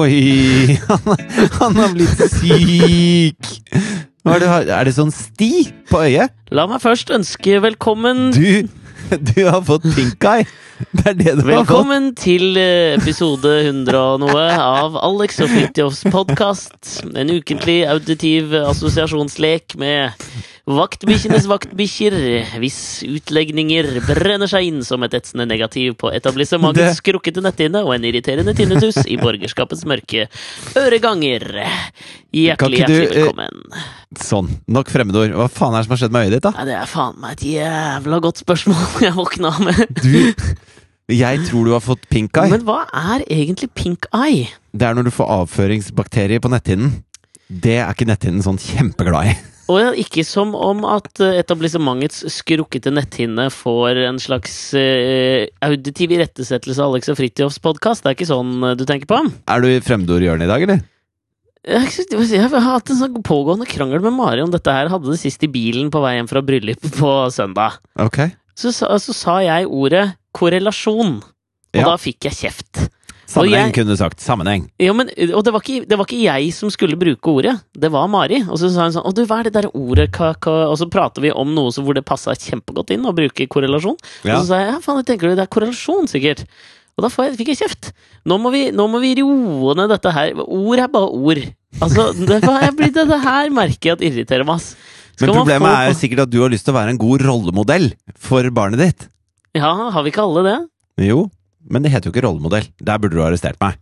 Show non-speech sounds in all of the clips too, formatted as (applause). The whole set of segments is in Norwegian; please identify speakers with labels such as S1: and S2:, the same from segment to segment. S1: Oi, han, han har blitt syk! Hva er, det, du har- er det sånn sti på øyet?
S2: La meg først ønske velkommen
S1: Du, du har fått pink eye! Det er det du har fått.
S2: Velkommen til eh, episode 100 og noe av Alex og Fridtjofs podkast. En ukentlig auditiv assosiasjonslek med vaktbikkjenes vaktbikkjer, hvis utlegninger brenner seg inn som et etsende negativ på etablissementets skrukkete netthinne og en irriterende tinnitus i borgerskapets mørke øreganger.
S1: Kan
S2: Hjertelig,
S1: ikke du,
S2: hjertelig
S1: eh,
S2: velkommen.
S1: Sånn, nok fremmedord. Hva faen er det som har skjedd med øyet ditt, da?
S2: Nei, det er faen meg et jævla godt spørsmål (laughs) jeg våkna med.
S1: Du, jeg tror du har fått pink eye.
S2: Men hva er egentlig pink eye?
S1: Det er når du får avføringsbakterier på netthinnen. Det er ikke netthinnen sånn kjempeglad i.
S2: Og ja, ikke som om at eh, etablissementets skrukkete netthinne får en slags eh, auditiv irettesettelse av Alex og Fridtjofs podkast. Det er ikke sånn eh, du tenker på?
S1: Er du i fremmedordhjørnet i dag, eller?
S2: Jeg, synes- jeg har hatt en sånn pågående krangel med Mari om dette her. Hadde det sist i bilen på vei hjem fra bryllup på søndag.
S1: Ok.
S2: Så, sa- så sa jeg ordet korrelasjon, og
S1: Ja.
S2: da fikk jeg kjeft.
S1: Sammenheng,
S2: jeg-
S1: kunne du sagt. Sammenheng.
S2: Ja, men, og det var, ikke, det var ikke jeg som skulle bruke ordet, det var Mari. Og så sa hun sånn 'Å, du, hva er det der ordet ka, ka? Og så prater vi om noe som- hvor det passa kjempegodt inn å bruke korrelasjon.
S1: Ja.
S2: Og så sa jeg 'ja, faen, jeg tenker du det er korrelasjon, sikkert'. Og da får jeg, fikk jeg kjeft. Nå må, vi, nå må vi roe ned dette her. Ord er bare ord. Altså, det, hva- jeg blir, dette her merker jeg at irriterer meg, ass.
S1: Men
S2: Skal man
S1: problemet
S2: få-
S1: er sikkert at du har lyst til å være en god rollemodell for barnet ditt.
S2: Ja, har vi ikke alle det?
S1: Jo, men det heter jo ikke rollemodell. Der burde du ha arrestert meg.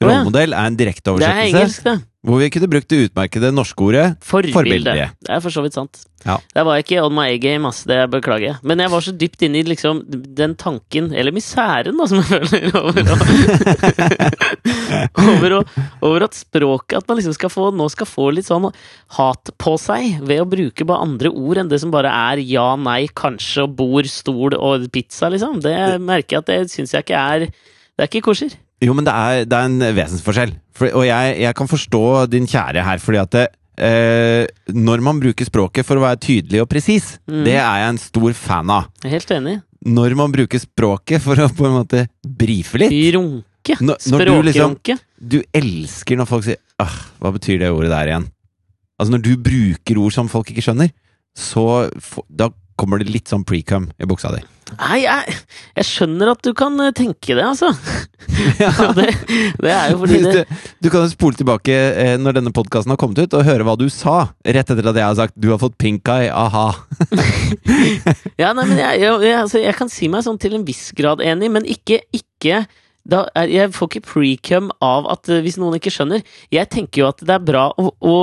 S2: Å, ja.
S1: Rollemodell er en
S2: Det er
S1: direkteoversettelse
S2: engelsk, det.
S1: hvor vi kunne brukt det utmerkede norske ordet
S2: Forbilde.
S1: Forbilde.
S2: Det er for så vidt sant.
S1: Ja.
S2: Der var jeg ikke on my A-game, ass. Det beklager jeg. Men jeg var så dypt inne i liksom den tanken, eller misæren, da, som jeg føler, (laughs) over, å, over, å, over at språket At man liksom skal få, nå skal få litt sånn hat på seg ved å bruke bare andre ord enn det som bare er ja, nei, kanskje, og bord, stol og pizza, liksom. Det merker jeg at det syns jeg ikke er Det er ikke kosher.
S1: Jo, men det er, det er en vesensforskjell. For, og jeg, jeg kan forstå din kjære her, fordi at det, eh, når man bruker språket for å være tydelig og presis,
S2: Mm.
S1: det er jeg en stor fan av.
S2: Jeg er helt enig.
S1: Når man bruker språket for å på en måte brife litt
S2: Runke.
S1: Når- når du liksom-
S2: Språkrunke.
S1: Du elsker når folk sier ah, 'hva betyr det ordet der igjen'? Altså når du bruker ord som folk ikke skjønner, så få- da kommer det litt sånn precum i buksa di.
S2: Nei, jeg, jeg skjønner at du kan eh, tenke det, altså. det, det er jo fordi
S1: Hvis
S2: det
S1: Du, du kan jo spole tilbake eh, når denne podkasten har kommet ut, og høre hva du sa rett etter at jeg har sagt 'du har fått pink eye', aha.
S2: Ja, nei, men jeg, jeg, jeg, altså, jeg kan si meg sånn til en viss grad enig, men ikke, ikke da er, jeg får ikke precum av at eh, hvis noen ikke skjønner Jeg tenker jo at det er bra å, å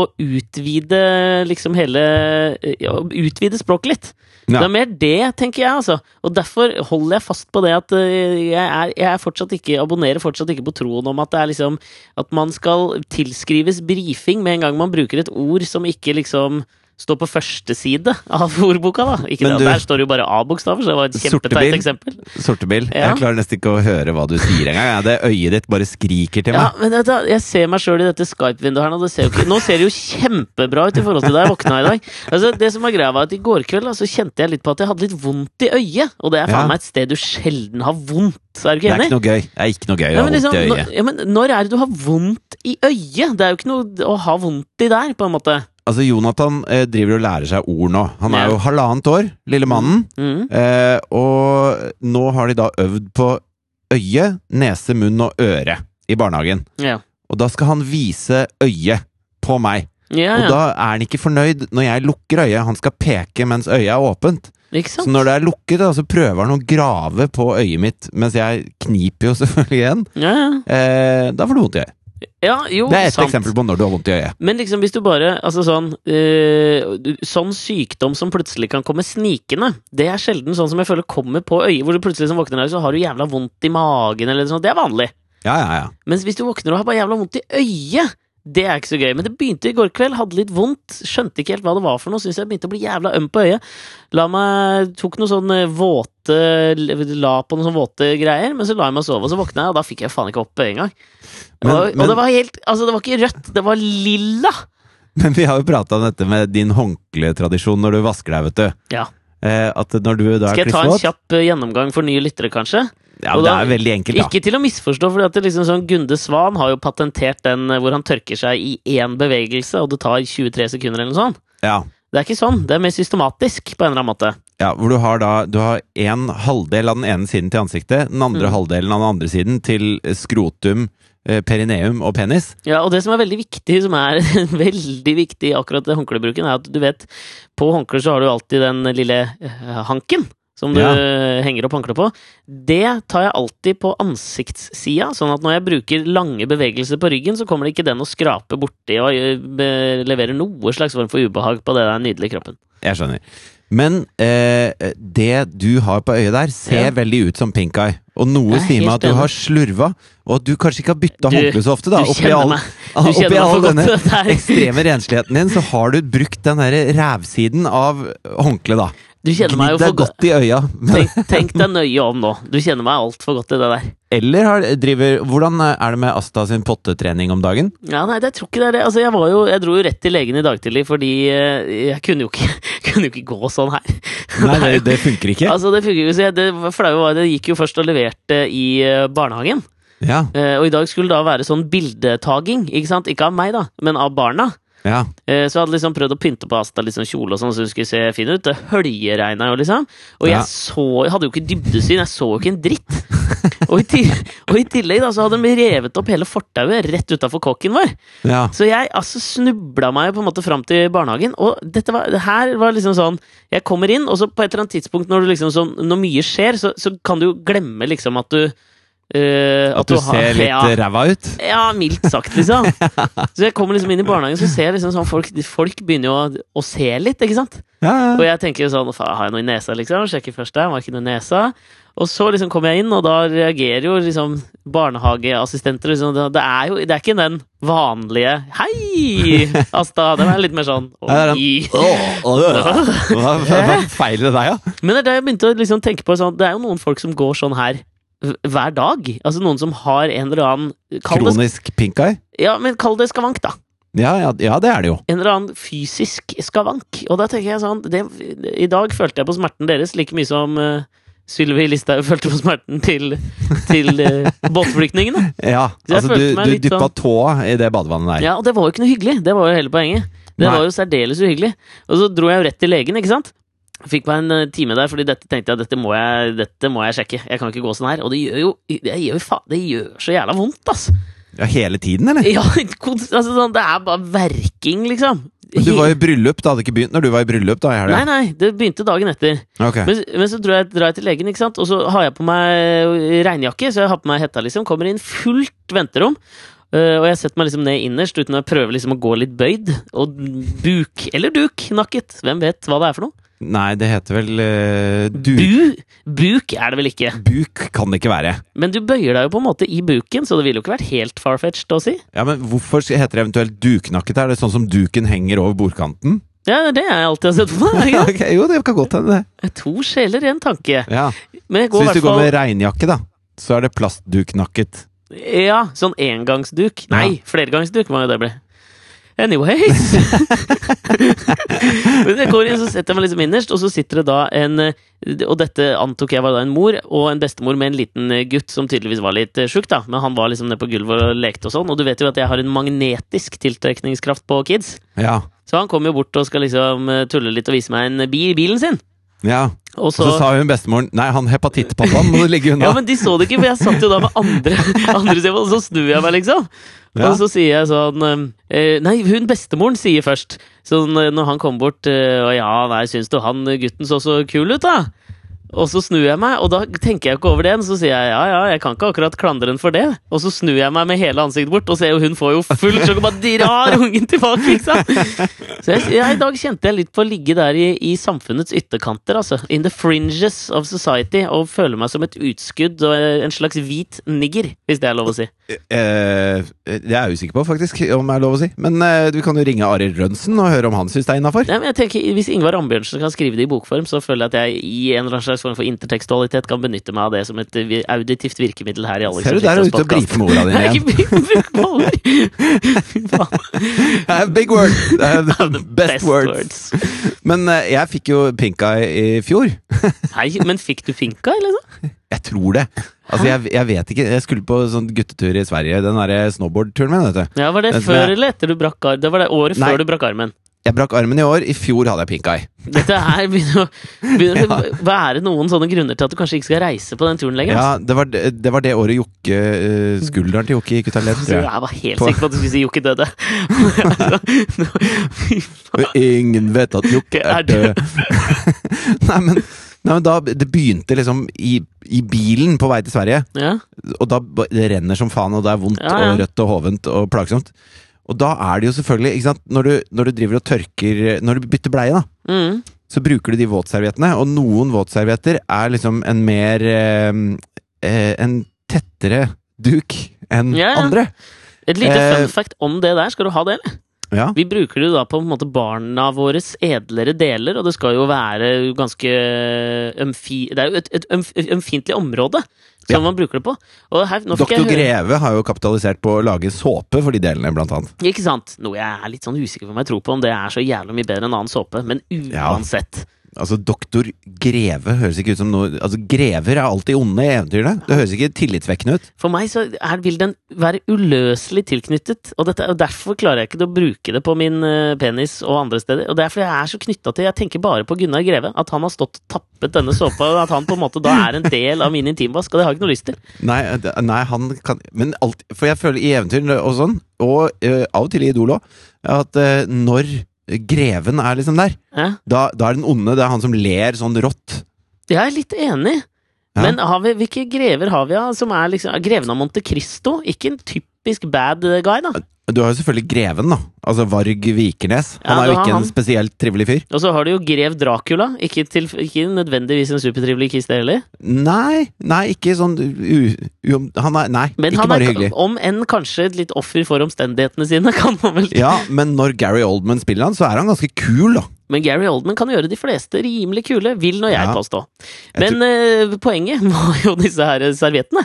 S2: utvide liksom hele eh, ja, Utvide språket litt.
S1: Ja.
S2: Det er mer det, tenker jeg, altså. Og derfor holder jeg fast på det at eh, jeg, er, jeg er fortsatt ikke, abonnerer fortsatt ikke på troen om at det er liksom At man skal tilskrives brifing med en gang man bruker et ord som ikke liksom står på første side av ordboka, da. Ikke
S1: Men
S2: det, at
S1: du-
S2: der står det jo bare A-bokstaver, så det var et
S1: Sortebil.
S2: kjempeteit eksempel.
S1: Sortebil.
S2: Ja.
S1: Jeg klarer nesten ikke å høre hva du sier engang. jeg. Det øyet ditt bare skriker til
S2: Ja,
S1: meg.
S2: men vet du hva, Jeg ser meg sjøl i dette Skype-vinduet her nå. Det ser jo ikke, nå ser det jo kjempebra ut i forhold til da jeg våkna i dag. Altså, det som var greia var at I går kveld da, så kjente jeg litt på at jeg hadde litt vondt i øyet. Og det er
S1: Ja.
S2: faen meg et sted du sjelden har vondt. Er du
S1: Det
S2: ikke
S1: er
S2: enig?
S1: ikke noe gøy. Det er ikke noe gøy å
S2: Ja,
S1: ha
S2: men
S1: vondt
S2: liksom,
S1: i
S2: når,
S1: øyet.
S2: ja, men når er det du har vondt i øyet? Det er jo ikke noe å ha vondt i der, på en måte.
S1: Altså, Jonathan eh, driver og lærer seg ord nå. Han er
S2: Ja.
S1: jo halvannet år, lille mannen.
S2: Mm.
S1: Eh, og nå har de da øvd på øye, nese, munn og øre i barnehagen.
S2: Ja.
S1: Og da skal han vise øyet på meg.
S2: Ja,
S1: Og
S2: ja.
S1: da er han ikke fornøyd når jeg lukker øyet. Han skal peke mens øyet er åpent.
S2: Ikke
S1: Så
S2: sant?
S1: når det er lukket, da, så prøver han å grave på øyet mitt, mens jeg kniper jo (laughs) selvfølgelig igjen.
S2: Ja, ja.
S1: Eh, da får du vondt i øyet.
S2: ja jo,
S1: Det er et
S2: sant.
S1: eksempel på når du har vondt i øyet.
S2: Men liksom hvis du bare Altså sånn eh, du- Sånn sykdom som plutselig kan komme snikende, det er sjelden sånn som jeg føler kommer på øyet, hvor du plutselig som våkner der, så har du jævla vondt i magen eller sånn. Det er vanlig.
S1: Ja, ja, ja.
S2: Mens hvis du våkner og har bare jævla vondt i øyet, det er ikke så gøy. Men det begynte i går kveld, hadde litt vondt, skjønte ikke helt hva det var for noe, syntes jeg begynte å bli jævla øm på øyet. La meg Tok noen sånne våte La på noen sånne våte greier, men så la jeg meg sove, og så våkna jeg, og da fikk jeg faen ikke opp engang.
S1: Men-
S2: Og, og
S1: men-
S2: det var helt Altså, det var ikke rødt, det var lilla!
S1: Men vi har jo prata om dette med din håndkletradisjon når du vasker deg, vet du.
S2: Ja.
S1: Eh, at når du da er
S2: Skal jeg ta en
S1: klissvåt
S2: kjapp eh, gjennomgang for nye lyttere, kanskje?
S1: Ja,
S2: Og
S1: men det
S2: da-
S1: er veldig enkelt, da.
S2: Ikke til å misforstå, for liksom sånn Gunde Svan har jo patentert den eh, hvor han tørker seg i én bevegelse, og det tar 23 sekunder eller noe sånt.
S1: Ja.
S2: Det er ikke sånn. Det er mer systematisk, på en eller annen måte.
S1: Ja, hvor du har da Du har en halvdel av den ene siden til ansiktet, den andre
S2: Mm.
S1: halvdelen av den andre siden til skrotum, eh, perineum og penis.
S2: Ja, og det som er veldig viktig, som er (laughs) veldig viktig i akkurat det håndklebruken, er at du vet På håndkle så har du alltid den lille eh, hanken som du
S1: Ja.
S2: eh, henger opp håndkleet på. Det tar jeg alltid på ansiktssida, sånn at når jeg bruker lange bevegelser på ryggen, så kommer det ikke den å skrape borti og eh, be- levere noe slags form for ubehag på det der nydelige kroppen.
S1: Jeg skjønner. Men eh, det du har på øyet der, ser
S2: Ja.
S1: veldig ut som pink eye. Og noe
S2: Jeg er
S1: sier meg
S2: helt
S1: at du
S2: enig.
S1: har slurva, og at du kanskje ikke har bytta
S2: Du-
S1: håndkle så ofte. da
S2: du
S1: Oppi
S2: kjenner
S1: all,
S2: meg. Du
S1: (laughs) oppi
S2: kjenner meg
S1: all
S2: for godt. (laughs)
S1: denne
S2: Dette er-
S1: ekstreme rensligheten din, så har du brukt den her rævsiden av håndkleet, da.
S2: Du kjenner
S1: Gnidd
S2: meg jo
S1: deg
S2: for godt.
S1: godt i øya.
S2: Tenk, tenk deg nøye om nå. Du kjenner meg altfor godt i det der.
S1: Eller har, driver Hvordan er det med Asta sin pottetrening om dagen?
S2: Ja, nei, det, jeg tror ikke det er det. Altså, jeg, var jo, jeg dro jo rett til legen i dag tidlig, fordi eh, jeg kunne jo ikke, (laughs) kunne jo ikke gå sånn her.
S1: Nei, det, det funker ikke.
S2: Altså, det funker jo ikke. så jeg- Det flaue var at jeg gikk jo først og leverte i eh, barnehagen.
S1: Ja,
S2: Eh, Og i dag skulle det da være sånn bildetaking, ikke sant? Ikke av meg, da, men av barna.
S1: ja.
S2: Eh, Så jeg hadde liksom prøvd å pynte på Asta liksom kjole og sånn, så hun skulle se fin ut. Det høljeregna jo, liksom. Og
S1: Ja.
S2: jeg så, jeg hadde jo ikke dybdesyn, jeg så jo ikke en dritt. (laughs) Og i, tillegg, og i tillegg da, så hadde de revet opp hele fortauet rett utafor kåken vår.
S1: ja.
S2: Så jeg altså snubla meg på en måte fram til barnehagen, og dette var, det her var liksom sånn Jeg kommer inn, og så på et eller annet tidspunkt når, du liksom sånn, når mye skjer, så, så kan du jo glemme liksom at du eh,
S1: At du
S2: har-
S1: ser litt
S2: (laughs) ja,
S1: ræva ut?
S2: ja, mildt sagt,
S1: (laughs)
S2: liksom. Så jeg kommer liksom inn i barnehagen, så ser jeg liksom sånn folk, folk begynner jo å, å se litt, ikke sant?
S1: Ja,
S2: Og
S1: ja.
S2: jeg tenker jo sånn, faen, har jeg noe i nesa, liksom? Sjekker først der, var ikke noe i nesa. Og så liksom kommer jeg inn, og da reagerer jo liksom barnehageassistenter liksom, det, det er jo det er ikke den vanlige 'hei, Asta'. Den er litt mer (laughs) sånn
S1: Ja,
S2: «Oi».
S1: Åh, åh, Hva hva (laughs) feiler det deg, da?
S2: (laughs) Men det er da jeg begynte å liksom tenke på sånn, det er jo noen folk som går sånn her h- hver dag. Altså noen som har en eller annen kall det,
S1: Kronisk pink eye?
S2: Ja, men kall det skavank, da.
S1: Ja, ja, ja, det er det jo.
S2: en eller annen fysisk skavank. Og da tenker jeg sånn det, I dag følte jeg på smerten deres like mye som uh, Sylvi Listhaug følte på smerten til, til
S1: (laughs)
S2: eh, båtflyktningene.
S1: Ja,
S2: Så jeg
S1: altså
S2: følte
S1: Du,
S2: meg
S1: du
S2: litt
S1: dyppa
S2: sånn-
S1: tåa i det badevannet der.
S2: Ja, og det var jo ikke noe hyggelig. Det var jo hele poenget. Det
S1: Nei.
S2: var jo særdeles uhyggelig. Og så dro jeg jo rett til legen, ikke sant. Fikk meg en eh, time der, fordi dette tenkte jeg dette må jeg, dette må jeg sjekke. Jeg kan ikke gå sånn her. Og det gjør jo det gjør, jo fa- det gjør så jævla vondt, ass.
S1: (laughs) Ja, Hele tiden, eller?
S2: Ja, kons- altså, sånn, det er bare verking, liksom.
S1: Men Du var i bryllup, det hadde ikke begynt når du var i bryllup da i
S2: Nei,
S1: helga?
S2: nei, det begynte dagen etter.
S1: Ok.
S2: Men, men så drar jeg, drar jeg til legen, ikke sant? og så har jeg på meg regnjakke. Så jeg har på meg hetta, liksom. Kommer inn fullt venterom. eh, og jeg setter meg liksom ned innerst uten å prøve liksom å gå litt bøyd. Og buk, eller duk, nakket. Hvem vet hva det er for noe?
S1: Nei, det heter vel eh, du...
S2: Bu, buk er det vel ikke.
S1: Buk kan det ikke være.
S2: Men du bøyer deg jo på en måte i buken, så det ville jo ikke vært helt farfetched å si.
S1: Ja, men Hvorfor heter det eventuelt duknakket? Er det sånn som duken henger over bordkanten?
S2: Ja, det er jeg alltid har sett for meg.
S1: Ja, (laughs) ok, jo, det kan godt hende, det.
S2: ikke? To sjeler i en tanke.
S1: Ja.
S2: Men jeg
S1: Så
S2: går i
S1: hvis du
S2: hvert
S1: går
S2: fall
S1: med regnjakke, da, så er det plastduknakket.
S2: Ja, sånn engangsduk. Nei, flergangsduk må jo det bli. Anyways (laughs) Men jeg går inn, så setter jeg meg liksom innerst, og så sitter det da en eh, Og dette antok jeg var da en mor og en bestemor med en liten eh, gutt som tydeligvis var litt eh, sjuk, da. Men han var liksom nede på gulvet og lekte og sånn. Og du vet jo at jeg har en magnetisk tiltrekningskraft på kids.
S1: Ja.
S2: Så han kom jo bort og skal liksom eh, tulle litt og vise meg en bil i bilen sin.
S1: ja. Og
S2: Og
S1: så sa hun bestemoren Nei, han hepatittpappaen må du ligge unna.
S2: (laughs) Ja, men de så det ikke, for jeg satt jo da med andre, (laughs) andre siden, og så snur jeg meg, liksom.
S1: Ja.
S2: Og så sier jeg sånn eh, Nei, hun bestemoren sier først. Sånn eh, når han kommer bort eh, Og ja, nei, syns du han eh, gutten så så kul ut, da? Og så snur jeg meg, og da tenker jeg ikke over det. igjen, Så sier jeg ja, ja, jeg kan ikke akkurat klandre henne for det. Og så snur jeg meg med hele ansiktet bort, og ser jo hun får jo full sjokk og bare drar ungen tilbake, liksom. Så jeg, jeg, i dag kjente jeg litt på å ligge der i, i samfunnets ytterkanter, altså. In the fringes of society, og føle meg som et utskudd og eh, en slags hvit nigger, hvis det er lov å si.
S1: Eh, det er jeg usikker på, faktisk, om det er lov å si. Men eh, du kan jo ringe Arild Rønsen og høre om han syns det er (laughs) innafor.
S2: Nei, men jeg tenker, Hvis Ingvar Ambjørnsen kan skrive det i bokform, så føler jeg at jeg i en eller annen slags form for intertekstualitet kan benytte meg av det som et eh, vi- auditivt virkemiddel her i Alex
S1: Ser
S2: og
S1: du, der er
S2: Fritjofs
S1: du ute og
S2: podcast.
S1: briter med orda dine
S2: Nei,
S1: igjen.
S2: ikke bruk på
S1: (laughs)
S2: ord! Fy faen.
S1: Eh, Big word!
S2: (laughs)
S1: Eh, the best words.
S2: words.
S1: Men eh, jeg fikk jo pink eye i fjor.
S2: Nei, men fikk du finka, eller noe?
S1: Jeg tror det. Altså, jeg, jeg vet ikke. Jeg skulle på sånn guttetur i Sverige. Den derre snowboardturen min, vet du.
S2: Ja, Var det
S1: Vent,
S2: før
S1: men-
S2: eller etter du brakk armen? Det var det året
S1: Nei.
S2: før du brakk armen.
S1: Jeg brakk armen i år. I fjor hadde jeg pink eye.
S2: Dette her begynner, å- begynner
S1: (laughs)
S2: å være noen sånne grunner til at du kanskje ikke skal reise på den turen lenger.
S1: Ja, det var det, det, var det året Jokke eh, Skulderen til Jokke gikk ut av ledd,
S2: Altså,
S1: tror jeg.
S2: jeg var helt
S1: På-
S2: sikker på at du skulle si Jokke døde. Altså, nå- fy faen.
S1: Og Ingen vet at Jokke
S2: Er
S1: er død. (laughs) nei, men, nei, men da Det begynte liksom i, i bilen på vei til Sverige,
S2: (laughs)
S1: (laughs)
S2: ja.
S1: og da ba- det renner som faen, og det er vondt
S2: Ja, ja.
S1: og rødt og hovent og plagsomt. Og da er det jo selvfølgelig ikke sant, når du, når du driver og tørker Når du bytter bleie, da,
S2: Mm.
S1: så bruker du de våtserviettene, og noen våtservietter er liksom en mer eh, eh, En tettere duk enn
S2: Ja, ja.
S1: andre.
S2: Et lite
S1: Eh.
S2: fun fact om det der. Skal du ha det, eller?
S1: Ja.
S2: Vi bruker det jo da på en måte barna våres edlere deler, og det skal jo være ganske eh, ømfi... Det er jo et, et ømf, ømfintlig område som
S1: Ja.
S2: man bruker det på. Og her, nå fikk
S1: Doktor
S2: jeg høre-
S1: Greve har jo kapitalisert på å lage såpe for de delene, blant annet.
S2: Ikke sant? Noe jeg er litt sånn usikker på om jeg tror på, om det er så jævlig mye bedre enn annen såpe. Men
S1: Ja.
S2: uansett.
S1: Altså, Doktor Greve høres ikke ut som noe Altså, Grever er alltid onde i eventyrene. Det høres ikke tillitsvekkende ut.
S2: For meg så er, vil den være uløselig tilknyttet. Og, dette, og derfor klarer jeg ikke å bruke det på min eh, penis og andre steder. Og det er fordi jeg er så knytta til Jeg tenker bare på Gunnar Greve. At han har stått og tappet denne såpa, og at han på en måte da er en del av min intimvask. Og det har jeg ikke noe lyst til.
S1: Nei, det- nei han kan Men alt For jeg føler i eventyr og sånn, og eh, av og til i Idol òg, at eh, når Greven er liksom der,
S2: Ja,
S1: da, da er den onde. Det er han som ler sånn rått.
S2: jeg er litt enig.
S1: Ja.
S2: Men har vi, hvilke grever har vi av som er liksom Greven av Monte Cristo? Ikke en typisk bad guy, da.
S1: Du har jo selvfølgelig Greven, da. Altså Varg Vikernes. Han
S2: Ja,
S1: er
S2: du
S1: jo
S2: har
S1: ikke
S2: han.
S1: en spesielt trivelig fyr.
S2: Og så har du jo grev Dracula. Ikke, til, ikke nødvendigvis en supertrivelig kiste heller.
S1: Nei, nei, ikke sånn u, u, Han er Nei,
S2: Men
S1: ikke
S2: han
S1: bare
S2: er,
S1: hyggelig.
S2: om enn kanskje et litt offer for omstendighetene sine, (laughs) kan man vel
S1: Ja, men når Gary Oldman spiller han, så er han ganske kul, da.
S2: Men Gary Oldman kan gjøre de fleste rimelig kule, vil nå jeg
S1: Ja.
S2: påstå.
S1: Jeg
S2: Men eh, poenget (laughs) var jo disse her serviettene.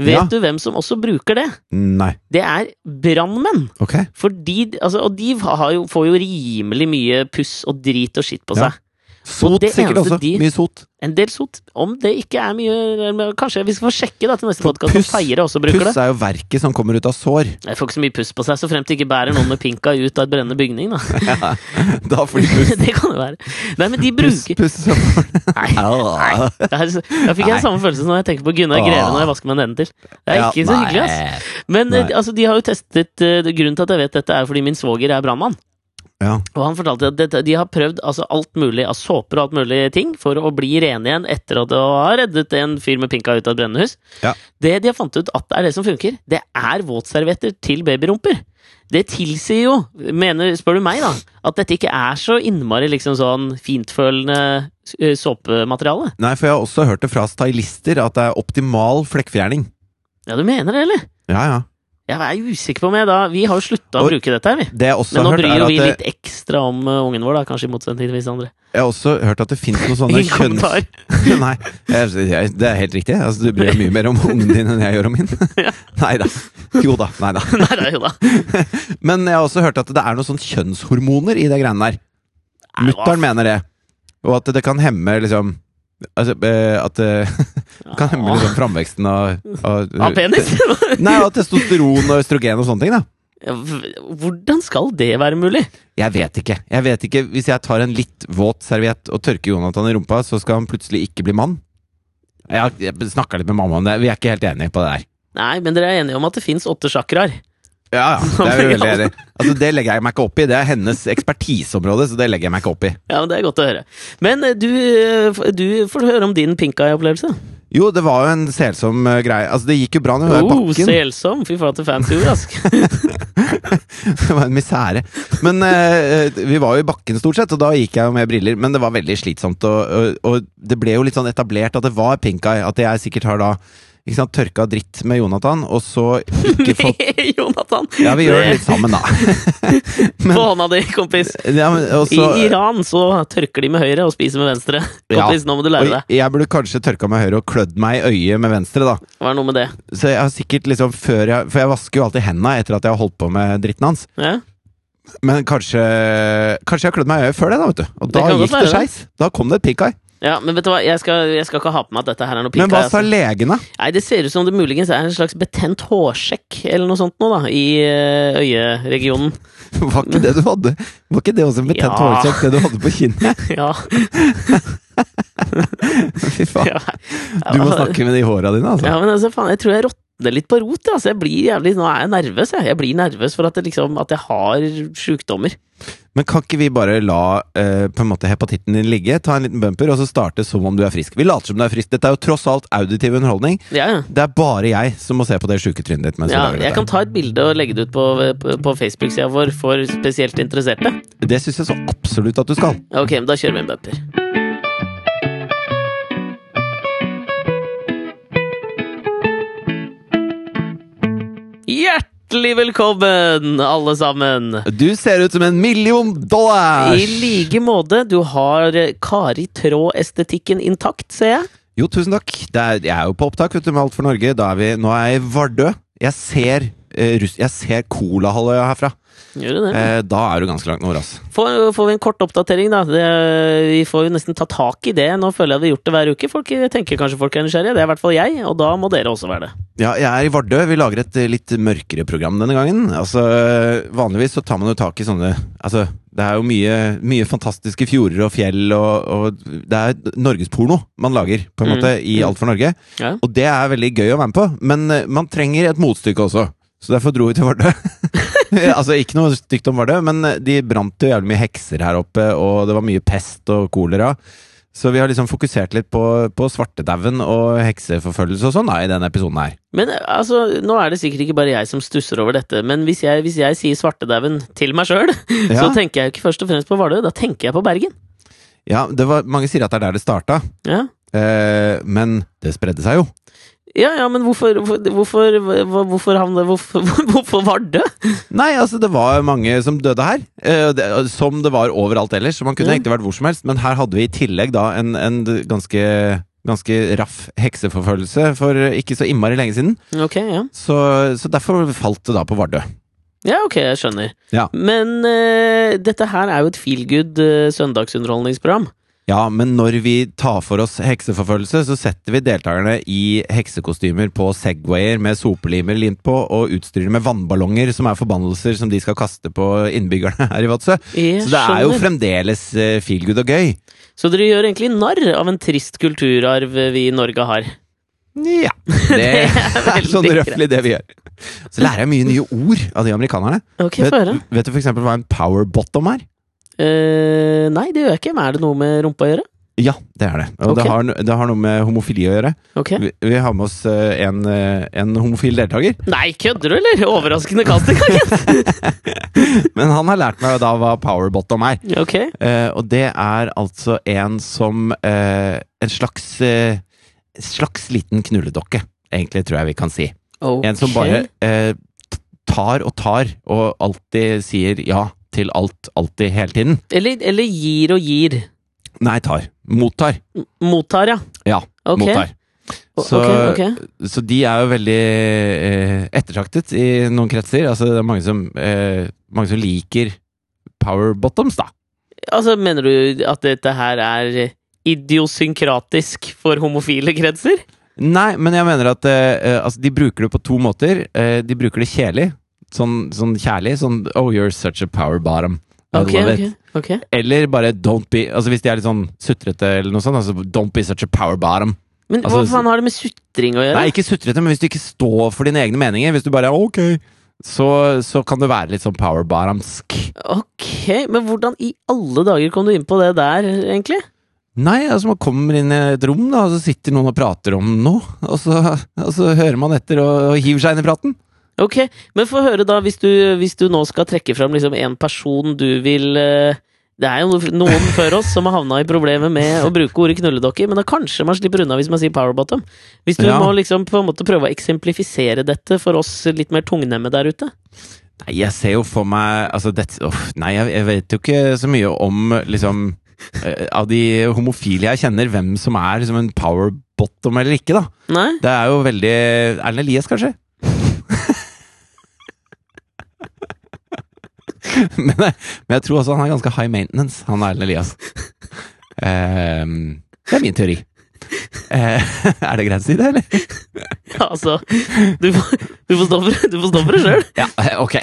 S2: Vet
S1: Ja.
S2: du hvem som også bruker det?
S1: Nei.
S2: Det er brannmenn.
S1: Ok.
S2: For de, altså, og de har jo, får jo rimelig mye puss og drit og skitt på
S1: Ja.
S2: seg.
S1: Sot
S2: Og det
S1: sikkert
S2: eneste
S1: også.
S2: de-
S1: Mye sot.
S2: En del sot. Om det ikke er mye men Kanskje vi skal få sjekke da, til neste
S1: For
S2: podkast om
S1: puss-
S2: feiere også bruker det.
S1: Puss er jo verket som kommer ut av sår. (laughs)
S2: Jeg får ikke så mye puss på seg, så fremt de ikke bærer noen med pinka ut av et brennende bygning, da.
S1: Da får
S2: (laughs)
S1: de puss.
S2: det kan jo være. Nei, men de
S1: Puss,
S2: bruker
S1: puss som
S2: Nei. Det er så- Da fikk jeg den
S1: Nei.
S2: samme følelsen når jeg tenker på Gunnar
S1: Åh.
S2: Greve når jeg vasker meg neden til. Det er
S1: Ja,
S2: ikke så
S1: nei.
S2: hyggelig, ass. Men eh,
S1: Nei.
S2: altså, de har jo testet eh, det- Grunnen til at jeg vet dette, er fordi min svoger er brannmann.
S1: Ja.
S2: Og han fortalte at dette, de har prøvd altså, alt mulig av såper og alt mulig ting for å bli rene igjen etter at de har reddet en fyr med pinka ut av et brennende hus.
S1: Ja.
S2: Det de har fant ut at er det som funker, det er våtservietter til babyrumper. Det tilsier jo, mener, spør du meg, da, at dette ikke er så innmari liksom sånn fintfølende eh, såpemateriale.
S1: Nei, for jeg har også hørt det fra stylister at det er optimal flekkfjerning.
S2: Ja, du mener det, eller?
S1: Ja, ja.
S2: Jeg er usikker på om jeg da Vi har jo slutta å
S1: Og-
S2: bruke dette her, vi.
S1: Det jeg også
S2: Men nå
S1: har hørt,
S2: bryr
S1: er
S2: jo
S1: at
S2: vi
S1: det,
S2: litt ekstra om eh, ungen vår, da, kanskje i motsetning til visse andre.
S1: jeg har også hørt at det finnes
S2: (laughs)
S1: noen sånne
S2: Ingen
S1: kjønns...
S2: kommentar.
S1: (laughs) Nei, jeg, jeg, det er helt riktig. Altså, du bryr deg mye mer om ungen din enn jeg gjør om min. (laughs) Nei da. Jo da. Nei da.
S2: Nei, det er jo da.
S1: Men jeg har også hørt at det er noen sånn kjønnshormoner i det greiene der.
S2: Nei, hva
S1: Mutter'n mener det. Og at det kan hemme liksom altså, eh, (laughs) At det kan hemme liksom, framveksten av, av
S2: Av penis?
S1: (laughs)
S2: (laughs)
S1: Nei, av testosteron og østrogen og sånne ting, da.
S2: Ja, v- Hvordan skal det være mulig?
S1: Jeg vet ikke. Jeg vet ikke, Hvis jeg tar en litt våt serviett og tørker Jonathan i rumpa, så skal han plutselig ikke bli mann? Jeg, har- jeg snakka litt med mamma om det. Vi er ikke helt enige på det der.
S2: Nei, men dere er enige om at det fins åtte sjakraer.
S1: Ja, ja.
S2: (laughs)
S1: Det er jo veldig enig. Altså, det legger jeg meg ikke opp i. Det er hennes ekspertiseområde, så det legger jeg meg ikke opp i.
S2: Ja, men Det er godt å høre. Men eh, du, eh, f- du får høre om din pinkai-opplevelse.
S1: Jo, det var jo en selsom eh, greie. Altså, det gikk jo bra når vi var i
S2: Oh,
S1: bakken.
S2: selsom! Fy flate fancy ord,
S1: (laughs)
S2: ass.
S1: Det var en misere. Men eh, vi var jo i bakken stort sett, og da gikk jeg jo med briller. Men det var veldig slitsomt, og, og, og det ble jo litt sånn etablert at det var pink eye. At jeg sikkert har da ikke sant, tørka dritt med Jonathan, og så
S2: (laughs)
S1: ikke fått
S2: Jonathan!
S1: Ja, vi gjør det
S2: (laughs)
S1: litt sammen, da. (laughs)
S2: På hånda di, kompis.
S1: Ja, men, og
S2: I
S1: så,
S2: Iran så tørker de med høyre og spiser med venstre.
S1: Ja.
S2: Kompis, nå må du lære deg.
S1: og jeg burde kanskje tørka med høyre og klødd meg i øyet med venstre, da.
S2: Hva er noe med det?
S1: Så jeg har sikkert liksom før jeg For jeg vasker jo alltid henda etter at jeg har holdt på med dritten hans.
S2: Ja?
S1: Men kanskje Kanskje jeg har klødd meg i øyet før det, da, vet du. Og
S2: Det
S1: da
S2: kan godt
S1: gikk det
S2: være,
S1: skeis. Da kom det et pink eye.
S2: Ja, men vet du hva, jeg skal, jeg skal ikke ha på meg at dette her er noe pika.
S1: Men hva
S2: jeg,
S1: sa
S2: altså.
S1: legene?
S2: Nei, Det ser ut som det muligens er en slags betent hårsjekk eller noe sånt nå, da, i eh, øyeregionen.
S1: (laughs)
S2: (laughs)
S1: Var ikke det du hadde Var ikke det også en betent
S2: Ja.
S1: hårsjekk, det du hadde på kinnet?
S2: (laughs) ja,
S1: (laughs) Fy faen.
S2: ja.
S1: Du må snakke med de håra dine, altså.
S2: Ja, men altså, faen, jeg tror jeg råtner litt på rot. ja, Altså. Jeg blir jævlig, nå er jeg nervøs, jeg. Jeg blir nervøs for at, det, liksom, at jeg har sjukdommer.
S1: Men kan ikke vi bare la eh, på en måte hepatitten din ligge, ta en liten bumper, og så starte som om du er frisk? Vi later som du er frisk. Dette er jo tross alt auditiv underholdning.
S2: Ja, ja.
S1: Det er bare jeg som må se på det sjuke trynet ditt. Mens
S2: Ja,
S1: du lager
S2: jeg kan
S1: dette.
S2: ta et bilde og legge det ut på, på, på Facebook-sida vår for spesielt interesserte.
S1: Det syns jeg så absolutt at du skal.
S2: Ok, men da kjører vi en bumper. Hjertelig velkommen, alle sammen!
S1: Du ser ut som en million dollar!
S2: I like måte. Du har eh, Kari Traa-estetikken intakt, ser jeg.
S1: Jo, tusen takk. Det er, jeg er jo på opptak vet du, med Alt for Norge. Da er vi, nå er jeg i Vardø. Jeg ser, uh, russ, jeg ser Colahalvøya herfra.
S2: Gjør du det?
S1: Eh, da er du ganske langt nord, ass.
S2: Får, får vi en kort oppdatering, da. Det, vi får jo nesten ta tak i det. Nå føler jeg at vi har gjort det hver uke. Folk tenker kanskje folk er nysgjerrige. Det er i hvert fall jeg, og da må dere også være det.
S1: Ja, jeg er i Vardø. Vi lager et eh, litt mørkere program denne gangen. Altså, Vanligvis så tar man jo tak i sånne Altså, det er jo mye, mye fantastiske fjorder og fjell og, og Det er norgesporno man lager, på en
S2: Mm.
S1: måte, i
S2: Mm.
S1: Alt for Norge.
S2: Ja.
S1: Og det er veldig gøy å være med på, men eh, man trenger et motstykke også. Så derfor dro vi til Vardø. (laughs) altså, ikke noe stygt om Vardø, men eh, de brant jo jævlig mye hekser her oppe, og det var mye pest og kolera. Så vi har liksom fokusert litt på, på svartedauden og hekseforfølgelse og sånn da, i denne episoden her.
S2: Men altså, nå er det sikkert ikke bare jeg som stusser over dette, men hvis jeg, hvis jeg sier svartedauden til meg sjøl, (laughs) så
S1: Ja.
S2: tenker jeg jo ikke først og fremst på Vardø, da tenker jeg på Bergen.
S1: Ja, det var, mange sier at det er der det starta,
S2: Ja,
S1: eh, men det spredde seg jo.
S2: ja, ja men hvorfor, hvorfor, hvorfor, hvor- hvorfor, havne- hvorfor, (laughs) hvorfor Vardø?
S1: Nei, altså det var mange som døde her, eh, det, som det var overalt ellers. Så man kunne
S2: Ja.
S1: egentlig vært hvor som helst, men her hadde vi i tillegg da en, en ganske, ganske raff hekseforfølgelse for ikke så innmari lenge siden.
S2: Ok, ja.
S1: Så, så derfor falt det da på Vardø.
S2: Ja, ok, jeg skjønner.
S1: Ja.
S2: Men eh, dette her er jo et feelgood eh, søndagsunderholdningsprogram.
S1: Ja, men når vi tar for oss hekseforfølgelse, så setter vi deltakerne i heksekostymer på Segwayer med sopelimer limt på, og utstyrer dem med vannballonger, som er forbannelser som de skal kaste på innbyggerne her i Vadsø.
S2: Jeg
S1: Så det er jo
S2: skjønner.
S1: fremdeles eh, feel good og gøy.
S2: Så dere gjør egentlig narr av en trist kulturarv eh, vi i Norge har. (laughs)
S1: Ja. Det, er
S2: veldig
S1: sånn
S2: greit.
S1: røftlig det vi gjør. Så lærer jeg mye nye ord av de amerikanerne.
S2: Ok, få
S1: Vet,
S2: høre.
S1: vet du for eksempel hva en power bottom er?
S2: Eh, nei, det gjør jeg ikke, men er det noe med rumpa å gjøre?
S1: Ja, det er det. Og
S2: Ok.
S1: det, har, no- det har noe med homofili å gjøre.
S2: Ok.
S1: Vi, vi har med oss eh, en, eh, en homofil deltaker.
S2: Nei, kødder du, eller? Overraskende kast
S1: (laughs)
S2: i gangen!
S1: Men han har lært meg da hva power bottom er.
S2: Ok.
S1: Eh, og det er altså en som eh, En slags eh, Slags liten knulledokke, egentlig, tror jeg vi kan si. En som bare eh, t- tar og tar, og alltid sier ja til alt, alltid, hele tiden.
S2: eller, eller gir og gir.
S1: Nei, tar. Mottar.
S2: M- Mottar, ja.
S1: Ja,
S2: Ok.
S1: mottar.
S2: O-
S1: Så,
S2: ok, ok.
S1: så de er jo veldig eh, ettertraktet i noen kretser. Altså, det er mange som, eh, mange som liker power bottoms, da.
S2: Altså, mener du at dette her er idiosynkratisk for homofile kretser?
S1: Nei, men jeg mener at eh, eh, altså, de bruker det på to måter. Eh, de bruker det kjærlig. Sånn, sånn kjærlig. Sånn Oh, you're such a power bottom. I
S2: Ok,
S1: love
S2: ok,
S1: it.
S2: ok.
S1: Eller bare don't be Altså Hvis de er litt sånn sutrete, eller noe sånt. Altså, don't be such a power bottom.
S2: Men hva
S1: Altså,
S2: faen har det med sutring å gjøre?
S1: Nei, ikke sutrete, men hvis du ikke står for dine egne meninger, hvis du bare er ok, så, så kan du være litt sånn power bottomsk.
S2: Ok, men hvordan i alle dager kom du inn på det der, egentlig?
S1: Nei, altså man kommer inn i et rom, da, og så sitter noen og prater om noe, og så, og så hører man etter og, og hiver seg inn i praten.
S2: Ok, men få høre da, hvis du, hvis du nå skal trekke fram liksom en person du vil eh, Det er jo noen før oss som har havna i problemer med å bruke ordet knulledokker, men da kanskje man slipper unna hvis man sier powerbottom. Hvis du
S1: Ja.
S2: må liksom på en måte prøve å eksemplifisere dette for oss litt mer tungnemme der ute.
S1: Nei, jeg ser jo for meg altså, det, uff, Nei, jeg, jeg vet jo ikke så mye om liksom eh, Av de homofile jeg kjenner, hvem som er liksom en power bottom eller ikke, da.
S2: Nei? (laughs)
S1: Det er jo veldig Erlend Elias, kanskje? (laughs) men, jeg- men jeg tror også han er ganske high maintenance, han Erlend Elias. Ehm, Det er min teori. Eh, (laughs) er det greit å si det, eller?
S2: Altså, du får, du får stå for, du får stå for det sjøl.
S1: Ja, eh, ok.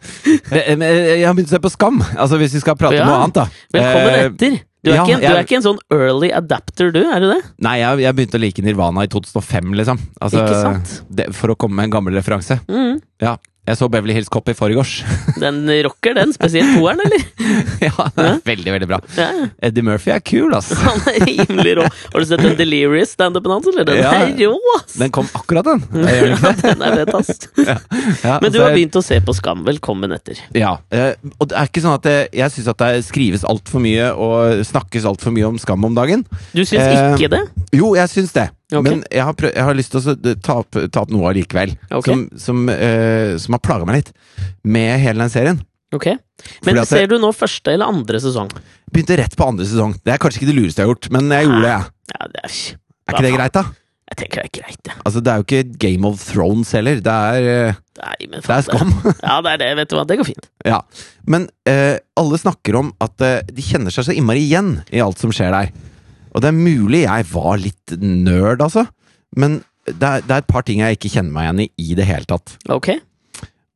S1: (laughs) Eh, men, eh, Jeg har begynt å se på Skam, altså hvis vi skal prate
S2: Ja.
S1: om noe annet, da.
S2: Velkommen
S1: Eh,
S2: etter. Du er,
S1: ja,
S2: ikke en, du er
S1: jeg-
S2: ikke en sånn early adapter, du? Er du det?
S1: Nei, jeg, jeg begynte å like Nirvana i 2005, liksom. Altså,
S2: Ikke sant?
S1: Det, for å komme med en gammel referanse.
S2: Mm.
S1: Ja. Jeg så Beverly Hills Cop i forgårs. (laughs)
S2: Den rocker, den. Spesielt toeren, eller?
S1: ja, det er veldig, veldig bra.
S2: Ja. ja.
S1: Eddie Murphy er kul, ass.
S2: Han er rimelig rå. Har du sett den Delirious standupen hans, eller? Den
S1: Ja.
S2: er rå, ass!
S1: Den kom akkurat,
S2: (laughs)
S1: den. Jeg gjør den ikke det?
S2: Den er fett, ass.
S1: Ja,
S2: Men du
S1: altså,
S2: har begynt å se på Skam. Velkommen etter.
S1: Ja. eh, Og det er ikke sånn at det, jeg syns at det skrives altfor mye og snakkes altfor mye om skam om dagen.
S2: Du syns
S1: Eh,
S2: ikke det?
S1: Jo, jeg syns det.
S2: Ok.
S1: Men jeg har, prøv, jeg har lyst til å så- ta opp, ta opp noe allikevel.
S2: Ok.
S1: Som, som, eh, som har plaga meg litt med hele den serien.
S2: Ok. Men
S1: at
S2: ser
S1: jeg-
S2: du nå første eller andre sesong?
S1: Begynte rett på andre sesong. Det er kanskje ikke det lureste jeg har gjort, men jeg gjorde det. jeg.
S2: Ja, det er ikke
S1: Er ikke det greit, da?
S2: Jeg tenker det er greit, det.
S1: Altså, det er jo ikke Game of Thrones heller. Det er, eh,
S2: Nei, men
S1: det
S2: faen,
S1: er skam. (laughs)
S2: Ja, det er det. Vet du hva, det går fint.
S1: Ja, Men eh, alle snakker om at eh, de kjenner seg så innmari igjen i alt som skjer der. Og det er mulig jeg var litt nerd, altså. Men det er, det er et par ting jeg ikke kjenner meg igjen i i det hele tatt.
S2: Ok?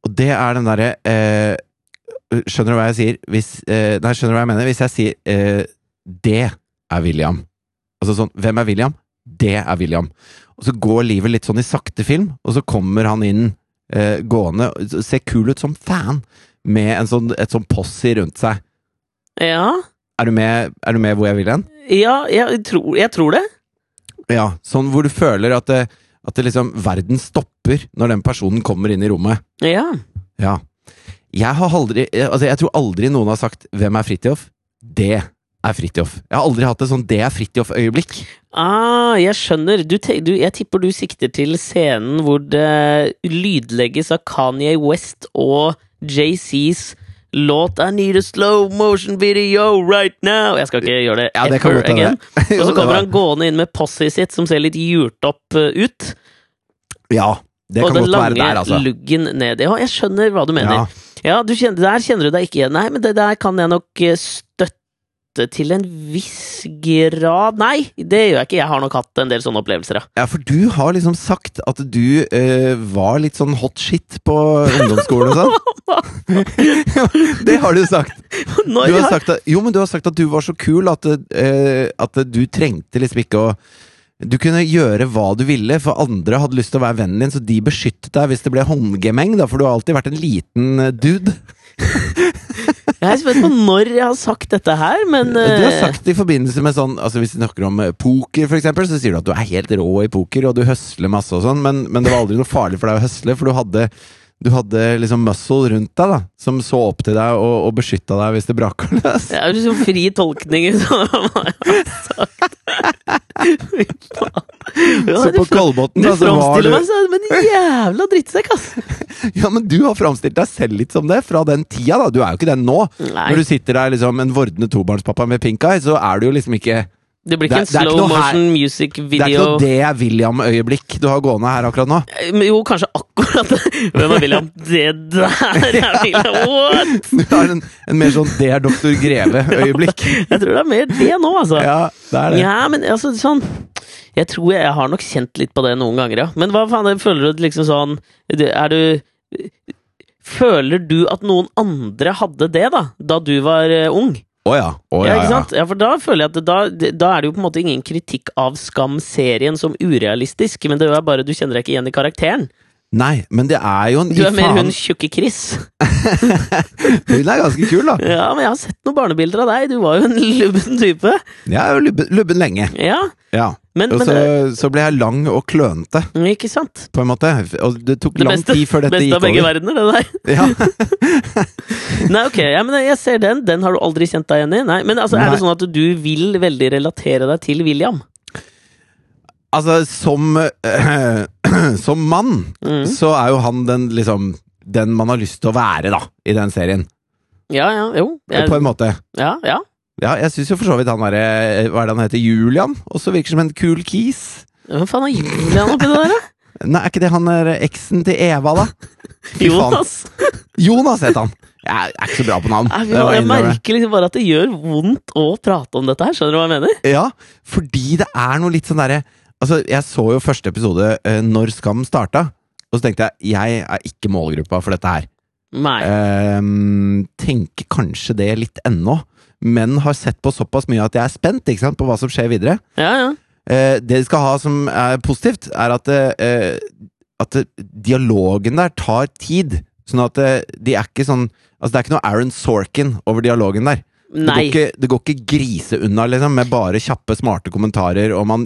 S1: Og det er den derre eh, Skjønner du hva jeg sier? Hvis, eh, nei, skjønner du hva jeg mener? Hvis jeg sier eh, 'det er William' Altså sånn, hvem er William? Det er William. Og så går livet litt sånn i sakte film, og så kommer han inn eh, gående, og ser kul ut som fan, med en sånn, et sånn posse rundt seg.
S2: Ja,
S1: Er du med, er du med hvor jeg vil hen?
S2: ja jeg, tror, jeg tror det.
S1: Ja, sånn hvor du føler at, det, at det liksom, verden stopper når den personen kommer inn i rommet.
S2: Ja.
S1: Ja. Jeg har aldri Altså, jeg tror aldri noen har sagt 'Hvem er Fridtjof?' Det er Fridtjof. Jeg har aldri hatt et sånn 'Det er Fridtjof'-øyeblikk.
S2: Ah, jeg skjønner. Du, te- du, jeg tipper du sikter til scenen hvor det lydlegges av Kanye West og JCs låt I need a slow motion video right now. Jeg skal ikke gjøre det
S1: Ja, det kan
S2: ever
S1: godt hende.
S2: again.
S1: (laughs) Jo,
S2: Og så
S1: det
S2: kommer
S1: var-
S2: han gående inn med posset sitt som ser litt gjort opp eh, ut.
S1: Ja, det
S2: og
S1: kan
S2: den
S1: godt være
S2: lange
S1: der, altså.
S2: luggen ned. Ja, jeg skjønner hva du mener.
S1: Ja.
S2: Ja, du kjenner, der kjenner du deg ikke igjen. Nei, men det der kan jeg nok eh, støtte til en viss grad. Nei, det gjør jeg ikke. Jeg har nok hatt en del sånne opplevelser, ja.
S1: ja, for du har liksom sagt at du eh, var litt sånn hot shit på ungdomsskolen og sånn.
S2: (laughs)
S1: (laughs) det har du sagt.
S2: Når
S1: Du har
S2: jeg-
S1: sagt at, jo, men du har sagt at du var så kul at, eh, at du trengte liksom ikke å Du kunne gjøre hva du ville, for andre hadde lyst til å være vennen din, så de beskyttet deg hvis det ble håndgemeng, da, for du har alltid vært en liten eh, dude.
S2: Jeg er spent på når jeg har sagt dette her, men
S1: Du har
S2: eh,
S1: sagt i forbindelse med sånn Altså Hvis vi snakker om eh, poker, for eksempel, så sier du at du er helt rå i poker, og du høsler masse og sånn, men, men det var aldri noe farlig for deg å høsle, for du hadde du hadde liksom muscle rundt deg, da, som så opp til deg og, og beskytta deg hvis det braker løs.
S2: det er jo liksom fri tolkning (laughs) i sånn hva jeg har sagt. Fy faen. Ja,
S1: Så
S2: du
S1: på
S2: fra-
S1: Kolbotn,
S2: Du
S1: da, så var
S2: framstiller
S1: du
S2: meg som en jævla drittsekk, ass!
S1: Ja, men du har framstilt deg selv litt som det fra den tida, da. Du er jo ikke den nå.
S2: Nei,
S1: Når du sitter der liksom en vordende tobarnspappa med pink eye, så er du jo liksom ikke
S2: det blir ikke en
S1: det er- det er ikke
S2: slow
S1: noe her-
S2: motion music
S1: Det er ikke
S2: video.
S1: noe det er William-øyeblikk du har gående her akkurat nå. (laughs)
S2: Eh, men Jo, kanskje akkurat det. Hvem er William? Det der er William! What?!
S1: Du har en, en mer sånn 'det er doktor Greve'-øyeblikk.
S2: (laughs) Jeg tror det er mer det nå, altså.
S1: Ja, det er det.
S2: Ja, men altså sånn Jeg tror jeg, jeg har nok kjent litt på det noen ganger, ja. Men hva faen føler du liksom sånn du- Er du Føler du at noen andre hadde det, da? Da du var eh, ung?
S1: Å ja. Å
S2: Ja,
S1: ja,
S2: ikke
S1: ja.
S2: sant? Ja, for da føler jeg at det- da, det- da er det jo på en måte ingen kritikk av Skam-serien som urealistisk, men det er bare du kjenner deg ikke igjen i karakteren.
S1: Nei, men det er jo en
S2: Du er
S1: i
S2: mer
S1: faen-
S2: hun tjukke Chris.
S1: (laughs)
S2: (laughs)
S1: Hun er ganske kul, da.
S2: Ja, men jeg har sett noen barnebilder av deg, du var jo en lubben type.
S1: Jeg er jo lubben, lubben lenge.
S2: Ja,
S1: Ja.
S2: men,
S1: Og
S2: men
S1: så,
S2: det-
S1: så ble jeg lang og klønete,
S2: Ikke sant?
S1: på en måte. Og det tok
S2: Det
S1: lang
S2: beste,
S1: tid før dette
S2: beste
S1: gikk
S2: av begge
S1: over.
S2: verdener, det der.
S1: Ja.
S2: (laughs) Nei, ok, ja, men jeg ser den. Den har du aldri kjent deg igjen i? Nei, men altså, Er det
S1: Nei.
S2: sånn at du vil veldig relatere deg til William?
S1: Altså, som eh, (clears throat) Som mann,
S2: Mm.
S1: så er jo han den liksom Den man har lyst til å være, da, i den serien.
S2: Ja, ja, jo.
S1: På
S2: Jeg,
S1: en måte.
S2: ja, ja.
S1: Ja, jeg syns jo for så vidt han derre eh, Hva er det han heter? Julian? Også virker som en kul kis.
S2: Hvem faen er Julian oppi det der, da?
S1: eh,
S2: (laughs)
S1: Nei, er ikke det han er eksen til Eva, da? Fy faen.
S2: Jonas.
S1: Jonas het han. Jeg er ikke så bra på navn.
S2: Jeg,
S1: det må jeg
S2: jeg
S1: innrømme.
S2: merker liksom bare at det gjør vondt å prate om dette her. Skjønner du hva jeg mener?
S1: Ja, fordi det er noe litt sånn derre Altså, jeg så jo første episode eh, når Skam starta, og så tenkte jeg jeg er ikke målgruppa for dette her.
S2: Nei.
S1: Ehm, tenker kanskje det litt ennå, men har sett på såpass mye at jeg er spent ikke sant, på hva som skjer videre.
S2: Ja, ja.
S1: Eh, det de skal ha som er positivt, er at, eh, at det- dialogen der tar tid. Sånn at eh, de er ikke sånn Altså, det er ikke noe Aaron Sorkin over dialogen der. Det
S2: Nei.
S1: går, ikke, det går ikke grise unna, liksom, med bare kjappe, smarte kommentarer, og man,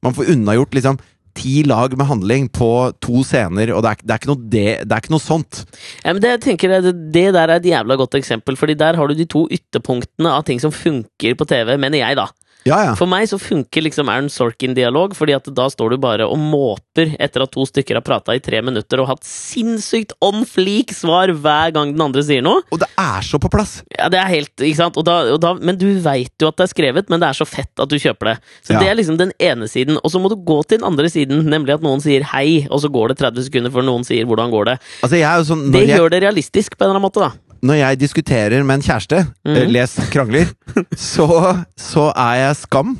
S1: man får unnagjort liksom ti lag med handling på to scener, og det er, det er, ikke, noe det, det er ikke noe sånt.
S2: Ja, men det, jeg tenker, det, det der er et jævla godt eksempel, Fordi der har du de to ytterpunktene av ting som funker på TV, mener jeg, da.
S1: Ja, ja.
S2: For meg så funker liksom Aaron Sorkin-dialog, Fordi at da står du bare og måper etter at to stykker har prata i tre minutter og hatt sinnssykt on fleak svar hver gang den andre sier noe.
S1: Og det er så på plass!
S2: Ja, det er helt, ikke sant? Og da, og da, men du veit jo at det er skrevet, men det er så fett at du kjøper det. Så
S1: Ja.
S2: det er liksom den ene siden. Og så må du gå til den andre siden, nemlig at noen sier hei, og så går det 30 sekunder før noen sier hvordan går det.
S1: Altså, jeg er jo sånn
S2: Det
S1: Når, jeg,
S2: gjør det realistisk på en eller annen måte, da.
S1: når jeg diskuterer med en kjæreste, eh,
S2: Mhm.
S1: les
S2: (laughs)
S1: krangler, så, så er jeg skam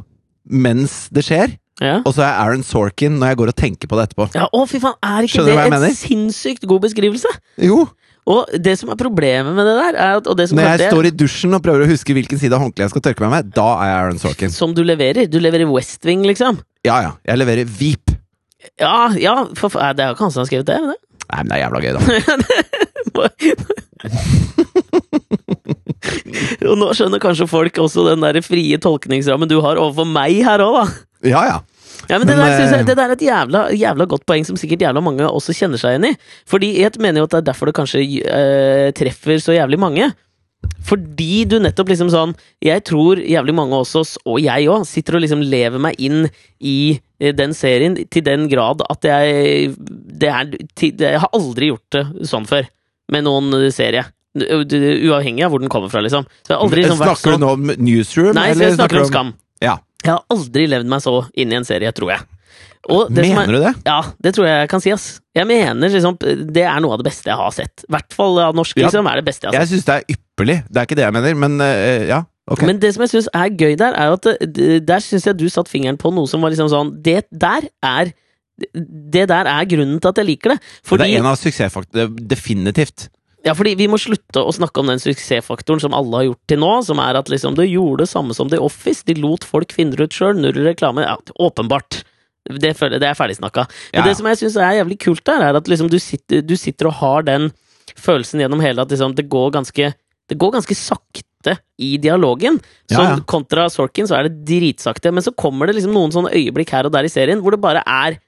S1: mens det skjer,
S2: Ja.
S1: og så er jeg Aaron Sorkin når jeg går og tenker på det etterpå.
S2: Ja, å, fy faen, er ikke
S1: Skjønner du hva jeg
S2: det
S1: mener?
S2: en sinnssykt god beskrivelse?
S1: Jo!
S2: Og det som er problemet med det der, er at, og det som,
S1: Når jeg
S2: kanskje-
S1: står i dusjen og prøver å huske hvilken side av håndkleet jeg skal tørke meg med, da er jeg Aaron Sorkin.
S2: som du leverer Du leverer West Wing, liksom.
S1: Ja, ja. Jeg leverer Veep.
S2: Ja, ja, for, fa- det er jo ikke han som har skrevet det. (laughs) Men det.
S1: Nei, men det er jævla gøy, da.
S2: (laughs) og nå skjønner kanskje folk også den der frie tolkningsrammen du har overfor meg her òg, da.
S1: Ja, ja.
S2: Ja, men det,
S1: Men,
S2: der, synes jeg,
S1: eh,
S2: det der er et jævla, jævla godt poeng som sikkert jævla mange også kjenner seg igjen i. Fordi jeg mener jo at det er derfor det kanskje eh, treffer så jævlig mange. Fordi du nettopp liksom sånn Jeg tror jævlig mange også, s- og jeg òg, sitter og liksom lever meg inn i eh, den serien til den grad at jeg det er, til, det, Jeg har aldri gjort det sånn før med noen eh, serie. U- du- Uavhengig av hvor den kommer fra, liksom. Så jeg har aldri liksom vært
S1: snakker du
S2: sånn
S1: nå om Newsroom?
S2: Nei, så
S1: eller
S2: jeg snakker
S1: du
S2: om Skam.
S1: Ja.
S2: Jeg har aldri levd meg så inn i en serie, tror jeg. Og det som er-
S1: Mener du det?
S2: ja, det tror jeg jeg kan si, ass. Jeg mener liksom, det er noe av det beste jeg har sett. I hvert fall av norsk,
S1: Ja.
S2: liksom, er det beste jeg har sett.
S1: Jeg syns det er ypperlig. Det er ikke det jeg mener, men eh, ja. Ok.
S2: Men det som jeg syns er gøy der, er jo at eh, d- der syns jeg du satte fingeren på noe som var liksom sånn Det der er det der er grunnen til at jeg liker det. Fordi,
S1: Det er en av suksessfaktorene. Definitivt.
S2: ja, fordi vi må slutte å snakke om den suksessfaktoren som alle har gjort til nå, som er at liksom du gjorde det samme som The Office, de lot folk finne det ut sjøl, null reklame. Ja, åpenbart. Det, føler- det er ferdigsnakka. Men
S1: Ja, ja.
S2: det som jeg syns er jævlig kult der, er at liksom du sitter, du sitter og har den følelsen gjennom hele at liksom det går ganske Det går ganske sakte i dialogen. Så
S1: Ja, ja.
S2: kontra Sorkin så er det dritsakte, men så kommer det liksom noen sånne øyeblikk her og der i serien hvor det bare er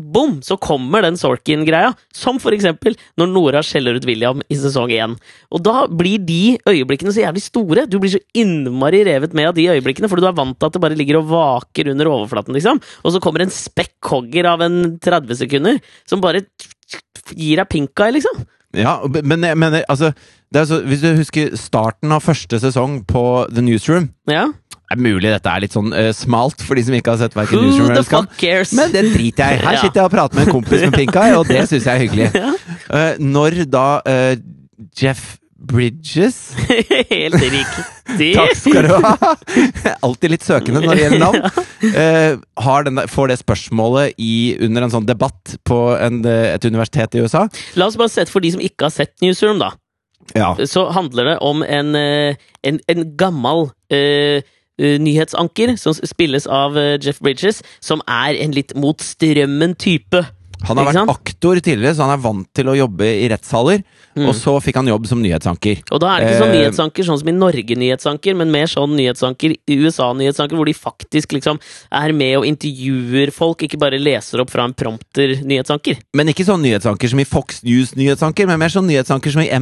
S2: Bom! Så kommer den Sorkin-greia. Som for eksempel når Nora skjeller ut William i sesong én. Og da blir de øyeblikkene så jævlig store. Du blir så innmari revet med av de øyeblikkene, fordi du er vant til at det bare ligger og vaker under overflaten, liksom. Og så kommer en spekkhogger av en 30 sekunder som bare gir deg pink eye, liksom.
S1: Ja, b- men jeg mener, altså det er så, Hvis du husker starten av første sesong på The Newsroom
S2: Ja.
S1: Det er mulig dette er litt sånn eh, smalt for de som ikke har sett hverken
S2: Who
S1: Newsroom
S2: the
S1: eller Skam.
S2: fuck cares?
S1: Men det driter jeg i. Her
S2: Ja.
S1: sitter jeg og prater med en kompis med pink eye, og det syns jeg er hyggelig.
S2: (laughs) Ja.
S1: Eh, når da eh, Jeff
S2: (laughs)
S1: Bridges (laughs)
S2: Helt riktig.
S1: Takk skal du ha! (laughs) Alltid litt søkende når det gjelder navn. Eh, har den der, får det spørsmålet i, under en sånn debatt på en, eh, et universitet i USA.
S2: La oss bare sette for de som ikke har sett Newsroom, da.
S1: Ja.
S2: så handler det om en, eh, en, en gammel eh, eh, nyhetsanker som s- spilles av eh, Jeff Bridges, som er en litt mot strømmen-type.
S1: Han har
S2: Ikke sant?
S1: vært aktor tidligere, så han er vant til å jobbe i rettssaler.
S2: Mm.
S1: Og så fikk han jobb som nyhetsanker.
S2: Og da er det ikke sånn
S1: Eh.
S2: nyhetsanker sånn som i Norge, nyhetsanker, men mer sånn nyhetsanker i USA-nyhetsanker, hvor de faktisk liksom er med og intervjuer folk, ikke bare leser opp fra en prompter-nyhetsanker.
S1: Men ikke sånn nyhetsanker som i Fox News-nyhetsanker, men mer sånn nyhetsanker som i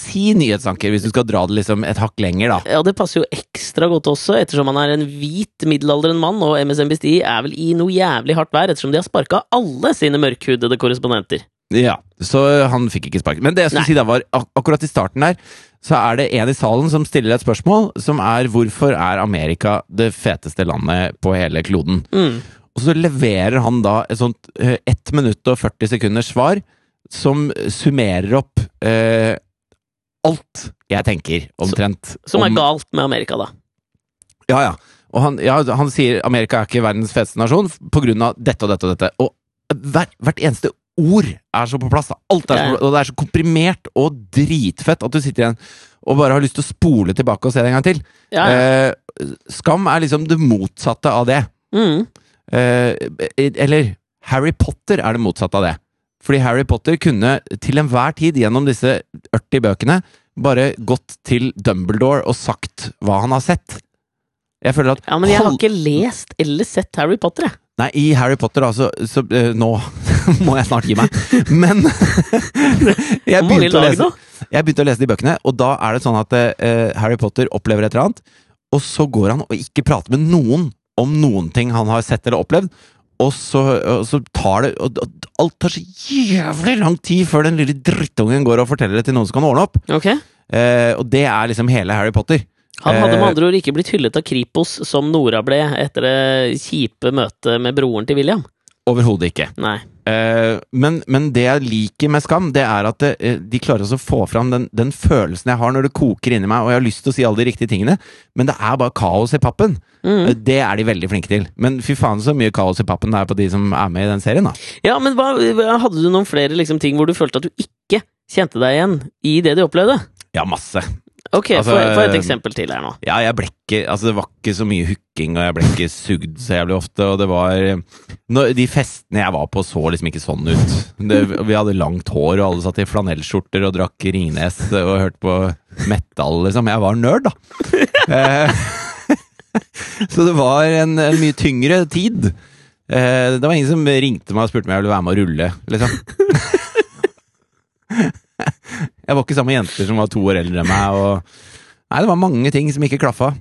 S1: MSNBC-nyhetsanker, hvis du skal dra det liksom et hakk lenger, da.
S2: Ja, det passer jo ekstra godt også, ettersom han er en hvit, middelaldrende mann, og MSNBC er vel i noe jævlig hardt vær, ettersom de har sparka alle sine mørkhudede korrespondenter.
S1: Ja, Så han fikk ikke sparken. Men det jeg skulle
S2: Nei.
S1: si da var ak akkurat i starten der, så er det en i salen som stiller et spørsmål, som er hvorfor er Amerika det feteste landet på hele kloden?
S2: Mm.
S1: Og så leverer han da et sånt eh, 1 minutt og 40 sekunders svar som summerer opp eh, alt jeg tenker, omtrent.
S2: Som er
S1: om-
S2: galt med Amerika, da.
S1: Ja, ja. Og han, ja, han sier Amerika er ikke verdens feteste nasjon på grunn av dette og dette og dette. Og hver, hvert eneste ord er så på plass. Da. Alt er så,
S2: Ja, ja.
S1: på plass, og det er så komprimert og dritfett at du sitter igjen og bare har lyst til å spole tilbake og se det en gang til.
S2: Ja, ja.
S1: Eh, skam er liksom det motsatte av det.
S2: Mm.
S1: Eh, eller Harry Potter er det motsatte av det. Fordi Harry Potter kunne til enhver tid gjennom disse 80 bøkene bare gått til Dumbledore og sagt hva han har sett. Jeg føler at
S2: ja, men jeg har
S1: hold-
S2: ikke lest eller sett Harry Potter, jeg.
S1: Nei, i Harry Potter, da, så, så eh, Nå (laughs) må jeg snart gi meg. Men (laughs) jeg
S2: Hvor mange
S1: begynte, å
S2: lag
S1: lese,
S2: nå?
S1: jeg begynte å lese de bøkene, og da er det sånn at eh, Harry Potter opplever et eller annet, og så går han og ikke prater med noen om noen ting han har sett eller opplevd. Og så, og så tar det og, og Alt tar så jævlig lang tid før den lille drittungen går og forteller det til noen som kan ordne opp.
S2: Ok.
S1: Eh, og det er liksom hele Harry Potter.
S2: Han hadde
S1: Eh,
S2: med andre ord ikke blitt hyllet av Kripos som Nora ble etter det kjipe møtet med broren til William.
S1: Overhodet ikke.
S2: Nei.
S1: Eh, men, men det jeg liker med Skam, det er at det, eh, de klarer også å få fram den, den følelsen jeg har når det koker inni meg, og jeg har lyst til å si alle de riktige tingene, men det er bare kaos i pappen. Eh,
S2: Mm.
S1: Det er de veldig flinke til. Men fy faen så mye kaos i pappen det er på de som er med i den serien, da.
S2: Ja, men hva, hva- hadde du noen flere liksom, ting hvor du følte at du ikke kjente deg igjen i det du opplevde?
S1: Ja, masse.
S2: Ok,
S1: Altså,
S2: få få et
S1: eh,
S2: eksempel til her nå.
S1: Ja, jeg ble ikke Altså, det var ikke så mye hooking, og jeg ble ikke sugd så jævlig ofte, og det var når, De festene jeg var på, så liksom ikke sånn ut. Det, vi hadde langt hår, og alle satt i flanellskjorter og drakk Ringnes og hørte på metal, liksom. Jeg var nerd, da. Eh, (laughs) så det var en, en mye tyngre tid. Eh, det var ingen som ringte meg og spurte om jeg ville være med å rulle, liksom. Jeg var ikke sammen med jenter som var to år eldre enn meg. Og... Nei, Det var mange ting som ikke klaffa.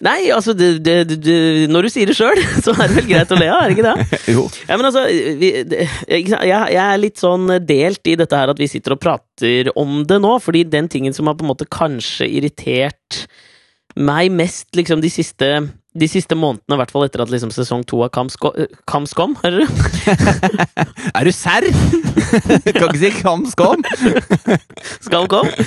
S2: Nei, altså, det, det, det, det, når du sier det sjøl, (laughs) så er det vel greit å le av, er det ikke det?
S1: (laughs) Jo.
S2: Ja, men altså, vi, det, ikke sant, jeg, jeg er litt sånn delt i dette her at vi sitter og prater om det nå, fordi den tingen som har på en måte kanskje irritert meg mest liksom de siste, de siste månedene, i hvert fall etter at liksom sesong to av Kamsko- eh, Kamskom, hører du?
S1: Er du serr?! (laughs) kan ikke si kam skam.
S2: skal komme,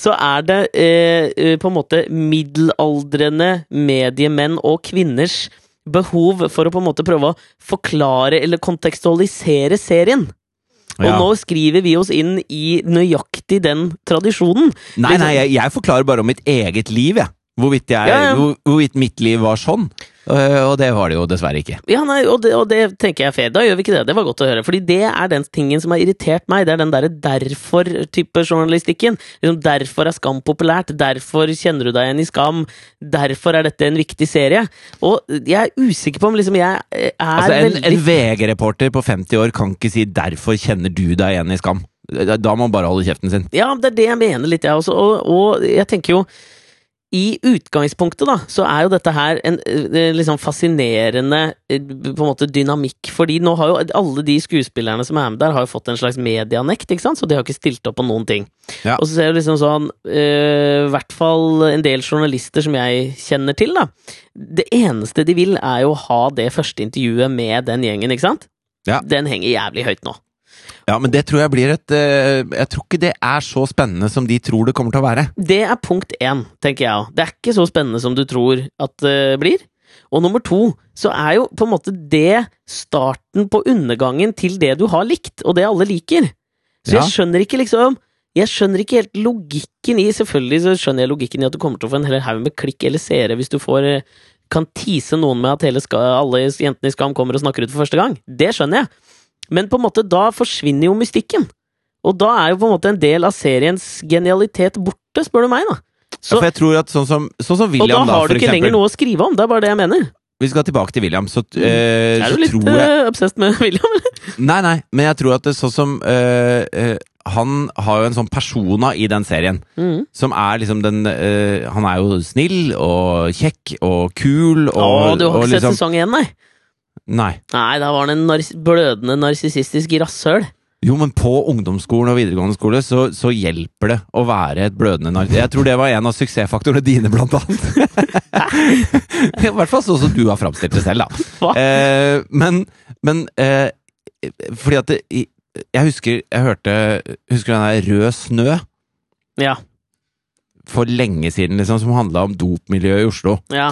S2: så er det eh, eh, på en måte middelaldrende mediemenn og kvinners behov for å på en måte prøve å forklare eller kontekstualisere serien. Og
S1: Ja.
S2: nå skriver vi oss inn i nøyaktig den tradisjonen.
S1: Nei, nei, jeg, jeg forklarer bare om mitt eget liv, jeg. Hvorvidt, jeg,
S2: Ja, ja.
S1: Hvor, hvorvidt mitt liv var sånn. Eh, og det var det jo dessverre ikke.
S2: Ja, nei, og det, og det tenker jeg er fair. Da gjør vi ikke det. Det var godt å høre. Fordi det er den tingen som har irritert meg. Det er den derre derfor-type journalistikken. Liksom, derfor er Skam populært. Derfor kjenner du deg igjen i Skam. Derfor er dette en viktig serie. Og jeg er usikker på om liksom jeg eh, er
S1: Altså, en,
S2: veldig
S1: en VG-reporter på 50 år kan ikke si 'derfor kjenner du deg igjen i skam'. Da da må han bare holde kjeften sin.
S2: Ja, det er det jeg mener litt, jeg også. Og, og jeg tenker jo i utgangspunktet da, så er jo dette her en eh, liksom fascinerende eh, på en måte dynamikk. fordi nå har jo alle de skuespillerne som er med der, har jo fått en slags medianekt, ikke sant? så de har ikke stilt opp på noen ting.
S1: Ja.
S2: Og så ser du liksom sånn, eh, i hvert fall en del journalister som jeg kjenner til, da. Det eneste de vil, er jo å ha det første intervjuet med den gjengen, ikke sant?
S1: Ja.
S2: Den henger jævlig høyt nå.
S1: Ja, Men det tror jeg blir et eh, Jeg tror ikke det er så spennende som de tror det kommer til å være.
S2: Det er punkt én, tenker jeg òg. Det er ikke så spennende som du tror at det blir. Og nummer to, så er jo på en måte det starten på undergangen til det du har likt, og det alle liker. Så
S1: Ja.
S2: jeg skjønner ikke liksom Jeg skjønner ikke helt logikken i Selvfølgelig så skjønner jeg logikken i at du kommer til å få en hel haug med klikk eller seere hvis du får eh, kan tease noen med at hele ska, alle jentene i Skam kommer og snakker ut for første gang. Det skjønner jeg. Men på en måte da forsvinner jo mystikken. Og da er jo på en måte en del av seriens genialitet borte, spør du meg, da.
S1: Ja,
S2: Så,
S1: for jeg tror at sånn som, sånn som
S2: og da
S1: William, da,
S2: har
S1: for
S2: du ikke
S1: eksempel.
S2: lenger noe å skrive om, det er bare det jeg mener.
S1: Vi skal tilbake til William, så, eh,
S2: er
S1: så
S2: du litt
S1: tror jeg
S2: eh, obsessed med William? eller?
S1: Nei, nei, men jeg tror at det er sånn som eh, eh, Han har jo en sånn persona i den serien
S2: Mm.
S1: som er liksom den eh, Han er jo snill og kjekk og kul (laughs) og,
S2: Å, du har
S1: og liksom-
S2: ikke sett sesong én, nei?
S1: Nei.
S2: Nei, da var han en nars blødende narsissistisk rasshøl.
S1: Jo, men på ungdomsskolen og videregående skole så, så hjelper det å være et blødende nark... Jeg tror det var en av suksessfaktorene dine, blant annet. (laughs) I hvert fall sånn som du har framstilt det selv, da.
S2: Hva?
S1: Eh, men men eh, fordi at det, i- Jeg husker jeg hørte Husker du den der Rød snø?
S2: Ja.
S1: For lenge siden, liksom, som handla om dopmiljøet i Oslo.
S2: (laughs) ja.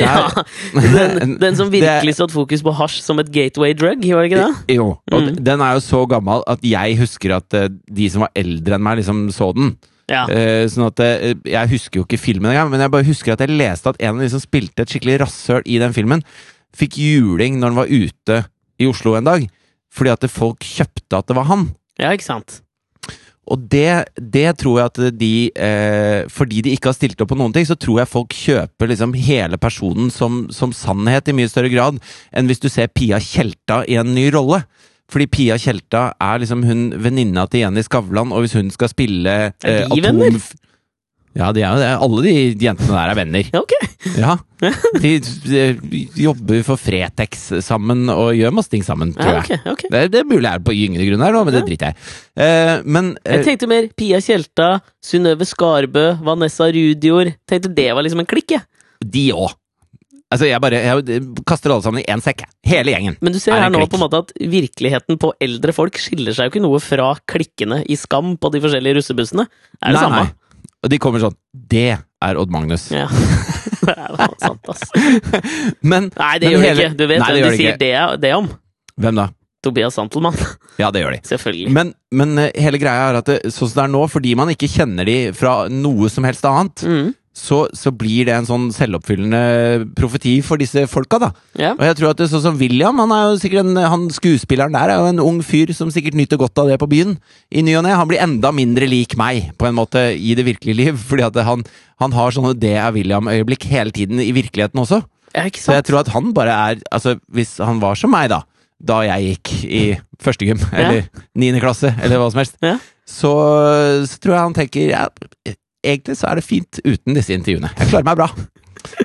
S2: ja. (laughs) Den, den som
S1: Det-
S2: virkelig satte fokus på hasj som et gateway drug, var det ikke det?
S1: (laughs) Jo, og
S2: Mm.
S1: den er jo så gammel at jeg husker at eh, de som var eldre enn meg, liksom så den.
S2: Ja.
S1: Eh, sånn at eh, Jeg husker jo ikke filmen engang, men jeg bare husker at jeg leste at en av de som spilte et skikkelig rasshøl i den filmen, fikk juling når han var ute i Oslo en dag, fordi at folk kjøpte at det var han.
S2: ja, ikke sant?
S1: Og det, det tror jeg at de eh, Fordi de ikke har stilt opp på noen ting, så tror jeg folk kjøper liksom hele personen som, som sannhet i mye større grad enn hvis du ser Pia Tjelta i en ny rolle. Fordi Pia Tjelta er liksom hun venninna til Jenny Skavlan, og hvis hun skal spille eh,
S2: Er de venner?
S1: Ja, de er jo det. Alle de jentene der er venner.
S2: Ja, (laughs) ok.
S1: Ja. De, de jobber for Fretex sammen og gjør masse ting sammen, tror
S2: Ja,
S1: jeg.
S2: ok, ok.
S1: Det, er- det er mulig jeg er på gyngende grunn her nå, men det driter jeg i. Eh, men eh,
S2: Jeg tenkte mer Pia Tjelta, Synnøve Skarbø, Vanessa Rudior. Tenkte det var liksom en klikk, jeg.
S1: De òg. Altså, jeg bare jeg kaster alle sammen i én sekk. jeg. Hele gjengen.
S2: Men du ser
S1: Er det
S2: her
S1: en
S2: nå
S1: klikk?
S2: på en måte at virkeligheten på eldre folk skiller seg jo ikke noe fra klikkene i Skam på de forskjellige russebussene. Det er det samme.
S1: nei. Og de kommer sånn Det er Odd Magnus.
S2: Ja. (laughs) det er jo sant, ass.
S1: Men
S2: Nei, det
S1: Men
S2: gjør
S1: hele-
S2: det ikke. Du vet
S1: Nei, det
S2: hvem
S1: gjør
S2: de
S1: det
S2: sier det, det om.
S1: hvem da?
S2: Tobias Santelmann. (laughs)
S1: Ja, det gjør de.
S2: Selvfølgelig.
S1: Men, men eh, hele greia er at det, sånn som det er nå, fordi man ikke kjenner de fra noe som helst annet,
S2: Mm.
S1: så, så blir det en sånn selvoppfyllende profeti for disse folka, da.
S2: Ja.
S1: Og jeg tror at det er sånn som William, han er jo sikkert en, han skuespilleren der er jo en ung fyr som sikkert nyter godt av det på byen i ny og ne. Han blir enda mindre lik meg, på en måte, i det virkelige liv. Fordi at han, han har sånne det er William-øyeblikk hele tiden i virkeligheten også.
S2: Ja, ikke
S1: Så jeg
S2: sant?
S1: tror at han bare er Altså, hvis han var som meg, da, da jeg gikk i første gym, eller niende klasse, eller hva som helst,
S2: Ja.
S1: så, så tror jeg han tenker ja, Egentlig så er det fint uten disse intervjuene. Jeg klarer meg bra.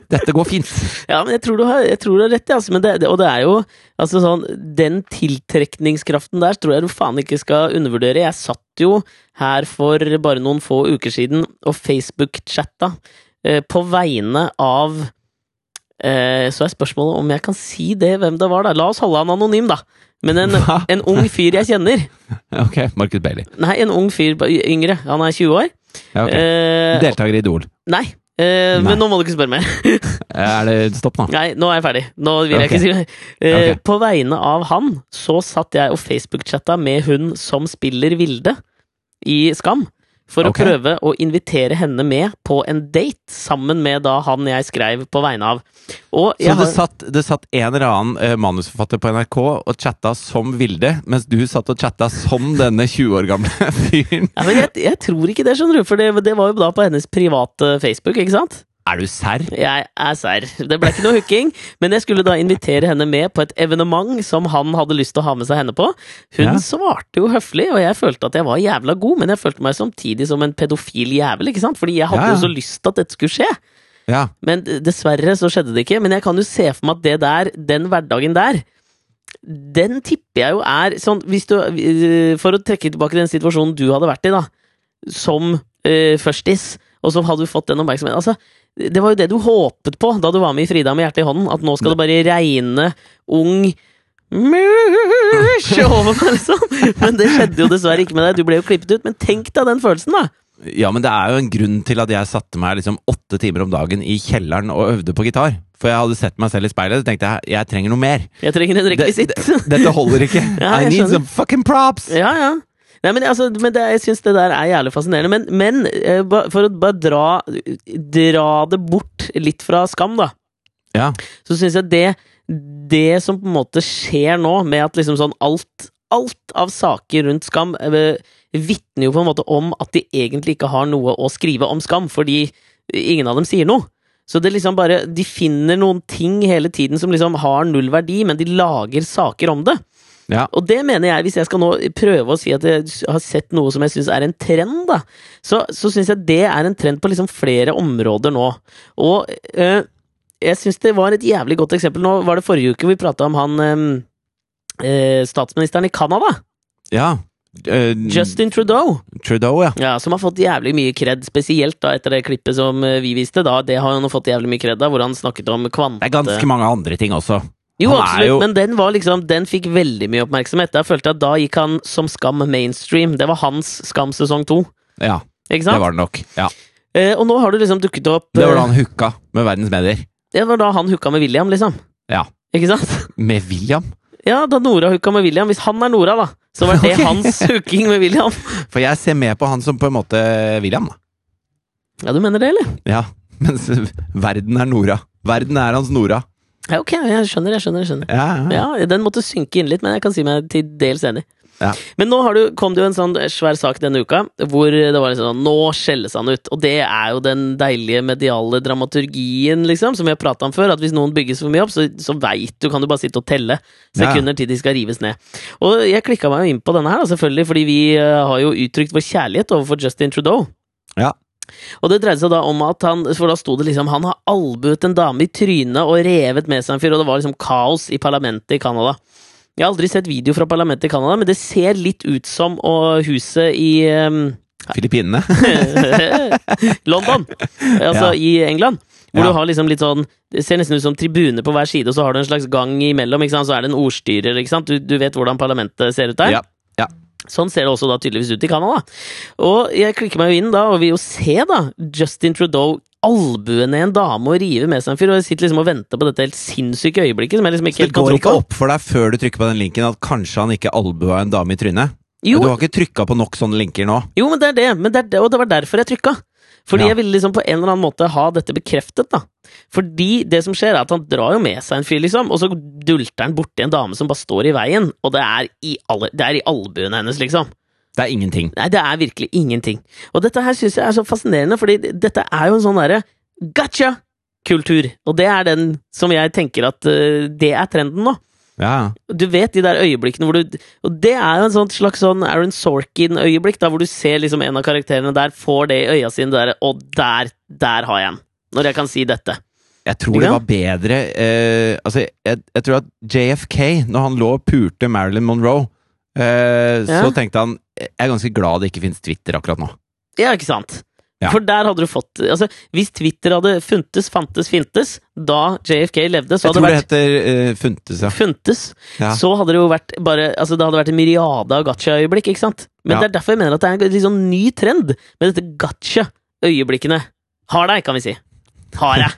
S1: Dette går fint.
S2: Ja, men jeg tror du har, jeg tror du har rett, ja, altså, men det, det, og det er jo altså, sånn, Den tiltrekningskraften der tror jeg du faen ikke skal undervurdere. Jeg satt jo her for bare noen få uker siden og Facebook-chatta eh, på vegne av eh, Så er spørsmålet om jeg kan si det, hvem det var, da. La oss holde han anonym, da. Men en,
S1: Hva?
S2: en ung fyr jeg kjenner
S1: (laughs) Ok, Marcus Bailey.
S2: Nei, en ung fyr, ba- yngre. Han er 20 år.
S1: Ja, ok.
S2: Eh,
S1: Deltaker i Idol.
S2: nei. Eh,
S1: Nei.
S2: Men nå må du ikke spørre mer.
S1: Er det stopp nå?
S2: Nei, nå er jeg ferdig. Nå vil jeg
S1: Ok.
S2: ikke si mer. Eh,
S1: Ok.
S2: På vegne av han så satt jeg og Facebook-chatta med hun som spiller Vilde i Skam, for
S1: Ok.
S2: å prøve å invitere henne med på en date sammen med da han jeg skrev på vegne av. Og
S1: Så
S2: jeg
S1: det
S2: har,
S1: satt, det satt en eller annen eh, manusforfatter på NRK og chatta som Vilde, mens du satt og chatta som denne 20 år gamle (laughs) fyren.
S2: ja, men jeg, jeg tror ikke det, skjønner du, for det, det var jo da på hennes private Facebook, ikke sant?
S1: Er du serr?
S2: Jeg er serr. Det ble ikke noe hooking, men jeg skulle da invitere henne med på et evenement som han hadde lyst til å ha med seg henne på. Hun
S1: Ja.
S2: svarte jo høflig, og jeg følte at jeg var jævla god, men jeg følte meg samtidig som en pedofil jævel, ikke sant? Fordi jeg hadde
S1: Ja, ja.
S2: jo så lyst til at dette skulle skje.
S1: Ja.
S2: Men d- dessverre så skjedde det ikke. Men jeg kan jo se for meg at det der, den hverdagen der, den tipper jeg jo er sånn hvis du, øh, For å trekke tilbake den situasjonen du hadde vært i, da, som øh, førstis, og så hadde du fått den oppmerksomheten altså, Det var jo det du håpet på da du var med i Frida med hjertet i hånden, at nå skal det bare regne ung Mus over meg, liksom! Men det skjedde jo dessverre ikke med deg. Du ble jo klippet ut. Men tenk deg den følelsen, da!
S1: ja, men det er jo en grunn til at jeg satte meg liksom åtte timer om dagen i kjelleren og øvde på gitar. For jeg hadde sett meg selv i speilet og tenkte jeg, jeg trenger noe mer.
S2: Jeg trenger en
S1: Det-
S2: rekvisitt.
S1: Dette holder ikke.
S2: (laughs) Ja,
S1: I
S2: jeg
S1: need
S2: skjønner.
S1: some fucking props!
S2: Ja, ja. Nei, men altså, men det, jeg syns det der er jævlig fascinerende. Men, men eh, ba- for å bare dra, dra det bort litt fra skam, da,
S1: Ja.
S2: så syns jeg det, det som på en måte skjer nå, med at liksom sånn alt, alt av saker rundt skam eh, vitner jo på en måte om at de egentlig ikke har noe å skrive om skam, fordi ingen av dem sier noe. Så det liksom bare, De finner noen ting hele tiden som liksom har null verdi, men de lager saker om det.
S1: Ja.
S2: Og det mener jeg, hvis jeg skal nå prøve å si at jeg s- har sett noe som jeg syns er en trend, da, så, så syns jeg det er en trend på liksom flere områder nå. Og eh, jeg syns det var et jævlig godt eksempel. Nå var det forrige uke vi prata om han eh, eh, statsministeren i Canada,
S1: ja. Eh,
S2: Justin Trudeau.
S1: Trudeau, ja.
S2: Ja, som har fått jævlig mye kred, spesielt da etter det klippet som eh, vi viste. da, Det har han fått jævlig mye kred av, hvor han snakket om kvante...
S1: Det er ganske mange andre ting også.
S2: Jo,
S1: Han er
S2: absolutt,
S1: jo-
S2: men den var liksom Den fikk veldig mye oppmerksomhet. Jeg følte at Da gikk han som Skam mainstream. Det var hans Skam sesong to.
S1: Ja,
S2: Ikke
S1: det
S2: sant?
S1: var det nok. Ja.
S2: Eh, og nå har du liksom dukket opp
S1: Det var
S2: eh,
S1: da han hooka med verdens medier.
S2: det var da han hooka med William, liksom.
S1: Ja.
S2: Ikke sant? (laughs)
S1: Med William?
S2: Ja, da Nora hooka med William. Hvis han er Nora, da, så var
S1: (laughs)
S2: det
S1: Ok.
S2: hans hooking med William.
S1: For jeg ser med på han som på en måte William. da.
S2: Ja, du mener det, eller?
S1: Ja, mens verden er Nora. Verden er hans Nora.
S2: Ja, ok, jeg skjønner, jeg skjønner. jeg skjønner
S1: Ja, ja.
S2: Ja, Den måtte synke inn litt, men jeg kan si meg til dels enig.
S1: Ja.
S2: Men nå har du, kom det jo en sånn svær sak denne uka, hvor det var liksom sånn, Nå skjelles han ut. Og det er jo den deilige mediale dramaturgien, liksom, som vi har prata om før. At hvis noen bygges for mye opp, så, så veit du, kan du bare sitte og telle sekunder til de skal rives ned. Og jeg klikka meg jo inn på denne her, da, selvfølgelig, fordi vi eh, har jo uttrykt vår kjærlighet overfor Justin Trudeau.
S1: Ja.
S2: Og det dreide seg da om at han For da sto det liksom Han har albuet en dame i trynet og revet med seg en fyr, og det var liksom kaos i parlamentet i Canada. Jeg har aldri sett video fra parlamentet i Canada, men det ser litt ut som og huset i ehm, (laughs)
S1: Filippinene.
S2: London, altså
S1: Ja.
S2: i England. Hvor
S1: Ja.
S2: du har liksom litt sånn Det ser nesten ut som tribune på hver side, og så har du en slags gang imellom. Ikke sant? Så er det en ordstyrer. Ikke sant? Du, du vet hvordan parlamentet ser ut der.
S1: Ja. ja.
S2: Sånn ser det også da tydeligvis ut i Canada. Og jeg klikker meg jo inn da, og vil jo se da Justin Trudeau albue ned en dame og rive med seg en fyr. Og jeg sitter liksom og venter på dette helt sinnssyke øyeblikket som jeg liksom ikke
S1: Så det
S2: helt kan
S1: går
S2: tro
S1: ikke
S2: på.
S1: opp for deg før du trykker på den linken at kanskje han ikke albua en dame i trynet?
S2: Jo,
S1: Du har ikke trykka på nok sånne linker nå?
S2: jo, men det er det, men det er det, og det var derfor jeg trykka. Fordi
S1: Ja.
S2: jeg ville liksom på en eller annen måte ha dette bekreftet, da. Fordi det som skjer, er at han drar jo med seg en fyr, liksom, og så dulter han borti en dame som bare står i veien, og det er i, alle, det er i albuene hennes, liksom.
S1: Det er ingenting.
S2: Nei, det er virkelig ingenting. Og dette her syns jeg er så fascinerende, fordi dette er jo en sånn derre gotcha-kultur. Og det er den som jeg tenker at øh, det er trenden nå.
S1: Ja,
S2: Du vet de der øyeblikkene hvor du Og det er jo en sånn slags sånn Aaron Sorkin-øyeblikk, da hvor du ser liksom en av karakterene der får det i øya sine, der, og der, der har jeg en. Når jeg kan si dette.
S1: Jeg tror
S2: Ikke
S1: det
S2: sant?
S1: var bedre eh, Altså, jeg, jeg tror at JFK, når han lå og pulte Marilyn Monroe, eh,
S2: Ja.
S1: så tenkte han Jeg er ganske glad det ikke finnes Twitter akkurat nå.
S2: Ja, ikke sant?
S1: Ja.
S2: For der hadde du fått Altså, hvis Twitter hadde funtes, fantes, fintes, da JFK levde, så
S1: Jeg
S2: hadde
S1: tror
S2: det
S1: det
S2: vært
S1: heter eh, Funtes, ja.
S2: Funtes.
S1: ja.
S2: så hadde det jo vært bare, altså det hadde vært en myriade av gacha-øyeblikk, ikke sant? Men
S1: Ja.
S2: det er derfor jeg mener at det er en litt sånn ny trend med dette gacha-øyeblikkene. Har deg, kan vi si. Har
S1: (laughs)
S2: jeg.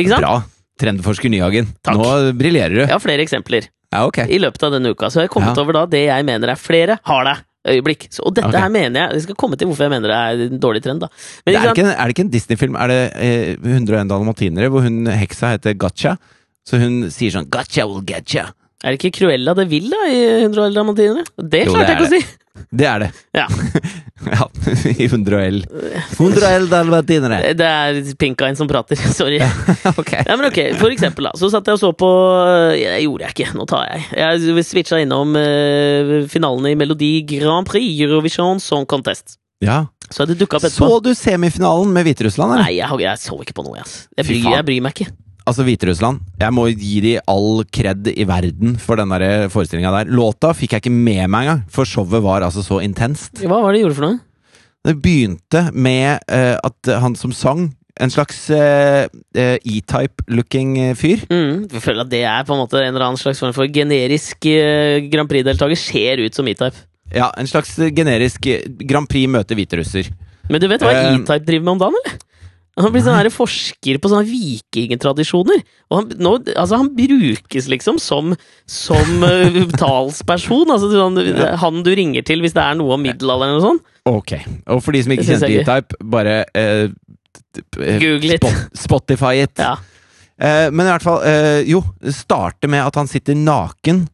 S2: Ikke sant?
S1: Bra. Trendforsker Nyhagen.
S2: Takk.
S1: Nå briljerer du.
S2: Jeg har flere eksempler
S1: Ja, ok.
S2: i løpet av denne uka, så jeg har kommet
S1: Ja.
S2: over da det jeg mener er flere har deg-øyeblikk. Så- Og dette
S1: Ok.
S2: her mener jeg Jeg skal komme til hvorfor jeg mener det er en dårlig trend, da. Men
S1: Det
S2: ikke
S1: er,
S2: sant?
S1: ikke en, er det ikke en Disney-film? Er det eh, 101 dalmatinere, hvor hun heksa heter Gotcha? Så hun sier sånn 'Gotcha will getcha'.
S2: er det ikke Cruella de Vil, da, i 100 år dramatiner? Det
S1: Jo, det
S2: klarte jeg
S1: er
S2: ikke å si!
S1: Det er det.
S2: Ja.
S1: (laughs) ja. I 101. 101 dalmatinere.
S2: Det er Pink Eye som prater. (laughs) Sorry.
S1: (laughs) ok.
S2: (laughs) Ja, men ok, For eksempel, da. Så satt jeg og så på ja, Det gjorde jeg ikke, nå tar jeg. Jeg switcha innom eh, finalen i Melodi Grand Prix, Eurovision Song Contest.
S1: Ja.
S2: Så hadde det dukka opp etterpå.
S1: Så du semifinalen med Hviterussland, eller?
S2: Nei, jeg, har- jeg så ikke på noe, jeg, ass. Jeg
S1: Fy
S2: bryr,
S1: faen.
S2: jeg bryr meg ikke.
S1: Altså Hviterussland. Jeg må gi de all cred i verden for den der forestillinga der. Låta fikk jeg ikke med meg engang, for showet var altså så intenst.
S2: Hva var det du gjorde for noe?
S1: Det begynte med eh, at han som sang, en slags eh, eh, E-type-looking eh, fyr
S2: Mm, jeg føler at det er på en måte en eller annen slags form for generisk eh, Grand Prix-deltaker ser ut som E-Type.
S1: Ja, en slags generisk eh, Grand Prix møter hviterusser.
S2: Men du vet hva
S1: Eh,
S2: E-Type driver med om dagen, eller? Han blir sånn her forsker på sånne vikingtradisjoner. Og han, nå, altså han brukes liksom som, som (laughs) eh, talsperson. Altså sånn, han du ringer til hvis det er noe om middelalderen eller noe sånt.
S1: Ok. Og for de som ikke
S2: Det synes
S1: kjente
S2: jeg
S1: E-type, bare eh, t- p- eh,
S2: Google it.
S1: spot- Spotify it.
S2: Ja.
S1: Eh, men i hvert fall, eh, jo, det starter med at han sitter naken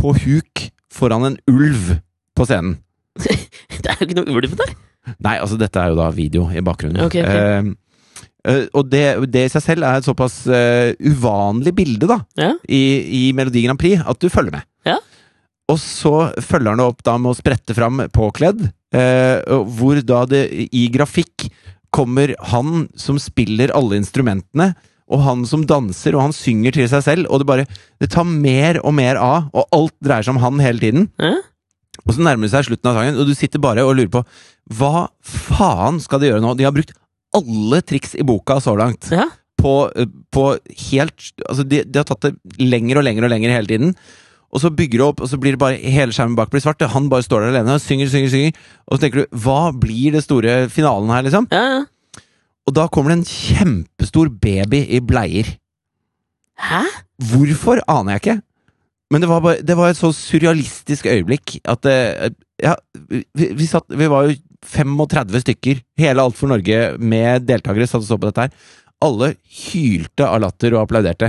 S1: på huk foran en ulv på scenen.
S2: Det er jo ikke noe ulv der!
S1: Nei, altså dette er jo da video i bakgrunnen.
S2: Ok, ok.
S1: Eh, eh, og det, det i seg selv er et såpass eh, uvanlig bilde da,
S2: Ja.
S1: i, i Melodi Grand Prix, at du følger med.
S2: Ja.
S1: Og så følger han det opp da med å sprette fram påkledd, eh, og hvor da det i grafikk kommer han som spiller alle instrumentene, og han som danser, og han synger til seg selv, og det bare, det tar mer og mer av, og alt dreier seg om han hele tiden.
S2: Ja.
S1: Og så nærmer det seg slutten av sangen, og du sitter bare og lurer på hva faen skal de gjøre nå? De har brukt alle triks i boka så langt.
S2: Ja.
S1: på, eh, på helt Altså, de, de har tatt det lenger og lenger og lenger hele tiden. Og så bygger det opp, og så blir det bare hele skjermen bak blir svart. og Han bare står der alene og synger, synger, synger. Og så tenker du, hva blir det store finalen her, liksom?
S2: Ja, ja.
S1: Og da kommer det en kjempestor baby i bleier.
S2: Hæ?
S1: Hvorfor aner jeg ikke. Men det var, bare, det var et så surrealistisk øyeblikk at eh, Ja, vi, vi, satt, vi var jo 35 stykker, hele Alt for Norge med deltakere, satt og så på dette her. Alle hylte av latter og applauderte.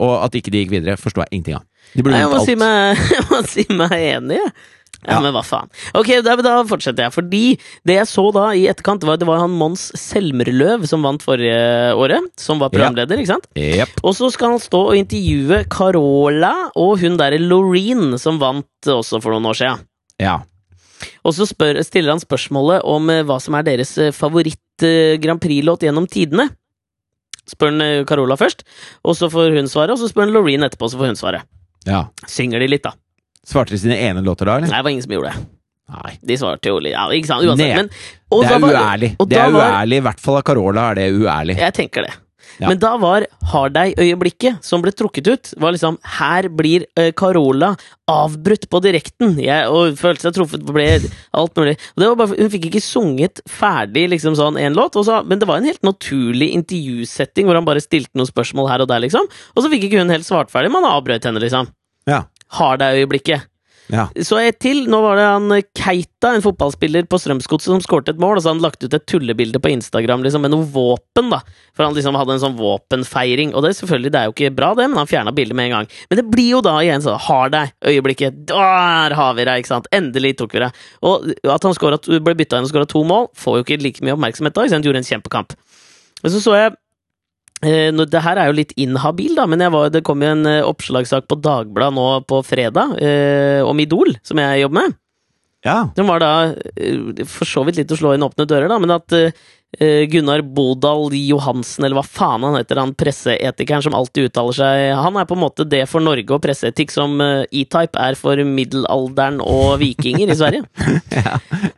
S1: Og at ikke de gikk videre, forsto jeg ingenting av. De burde
S2: Nei, jeg, må
S1: vunnet
S2: si
S1: alt.
S2: meg, (laughs) jeg må si meg enig, jeg. Ja,
S1: Ja.
S2: men hva faen. Ok, da, da fortsetter jeg. Fordi det jeg så da i etterkant, var, det var han Mons Selmerløv som vant forrige året. Som var programleder, ikke sant?
S1: Jep.
S2: Og så skal han stå og intervjue Carola og hun derre Loreen, som vant også for noen år siden.
S1: Ja.
S2: Og så spør, stiller han spørsmålet om eh, hva som er deres eh, favoritt eh, Grand Prix-låt gjennom tidene. Spør han eh, Carola først, og så får hun svare, og så spør han Loreen etterpå, så får hun svare.
S1: ja.
S2: Synger de litt, da?
S1: Svarte de sine ene låter da, eller?
S2: Nei, det var ingen som gjorde det.
S1: Nei.
S2: De svarte jo litt Ja, ikke sant, uansett.
S1: Nei.
S2: Men, og
S1: det
S2: da
S1: er
S2: var-
S1: uærlig.
S2: og
S1: Det
S2: da
S1: er
S2: var-
S1: uærlig. I hvert fall av Carola er det uærlig.
S2: Jeg tenker det.
S1: Ja.
S2: Men da var Hardei-øyeblikket som ble trukket ut, var liksom Her blir eh, Carola avbrutt på direkten! Jeg, og følte seg truffet på ble alt mulig. Og det var bare, hun fikk ikke sunget ferdig liksom sånn en låt, og så, men det var en helt naturlig intervjusetting hvor han bare stilte noen spørsmål her og der, liksom. Og så fikk ikke hun helt svart ferdig, man avbrøt henne, liksom.
S1: Ja.
S2: Hardei-øyeblikket.
S1: ja.
S2: Så et til. Nå var det han eh, Keita, en fotballspiller på Strømsgodset, som skårte et mål. Og så hadde han lagt ut et tullebilde på Instagram liksom, med noe våpen. da For han liksom hadde en sånn våpenfeiring. Og det selvfølgelig, det er jo ikke bra, det, men han fjerna bildet med en gang. Men det blir jo da igjen sånn Har deg øyeblikket. Der har vi deg, ikke sant. Endelig tok vi deg. Og at han scoret, ble bytta inn og skåra to mål, får jo ikke like mye oppmerksomhet da. ikke sant? Gjorde en kjempekamp. Men så så jeg Eh, nå, det her er jo litt inhabil, da, men jeg var, det kom jo en eh, oppslagssak på Dagbladet nå på fredag eh, om Idol, som jeg jobber med.
S1: ja.
S2: Den var da eh, for så vidt litt å slå inn åpne dører, da, men at eh, eh, Gunnar Bodal Johansen, eller hva faen han heter, han presseetikeren som alltid uttaler seg Han er på en måte det for Norge og presseetikk som eh, E-Type er for middelalderen og vikinger i Sverige.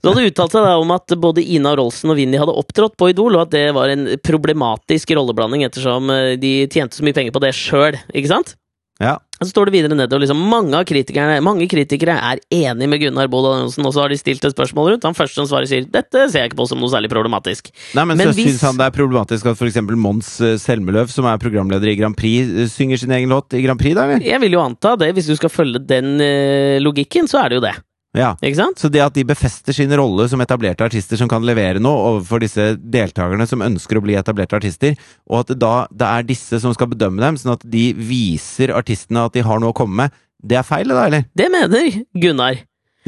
S2: Så hadde uttalt seg da om at både Ina Rolsen og Vinni hadde opptrådt på Idol, og at det var en problematisk rolleblanding ettersom eh, de tjente så mye penger på det sjøl, ikke sant?
S1: ja.
S2: Og Så står det videre nedover liksom, mange, av kritikerne, mange kritikere er enig med Gunnar Bodal Johnsen, og så har de stilt et spørsmål rundt. Han første som svarer, sier dette ser jeg ikke på som noe særlig problematisk.
S1: Nei, men,
S2: Men
S1: så
S2: hvis-
S1: syns han det er problematisk at f.eks. Mons eh, Selmeløv, som er programleder i Grand Prix, eh, synger sin egen låt i Grand Prix, da, eller?
S2: Jeg vil jo anta det, hvis du skal følge den eh, logikken, så er det jo det.
S1: Ja.
S2: Ikke sant?
S1: Så det at de befester sin rolle som etablerte artister som kan levere noe overfor disse deltakerne som ønsker å bli etablerte artister, og at det da det er disse som skal bedømme dem, sånn at de viser artistene at de har noe å komme med, det er feil, da, eller?
S2: Det mener Gunnar.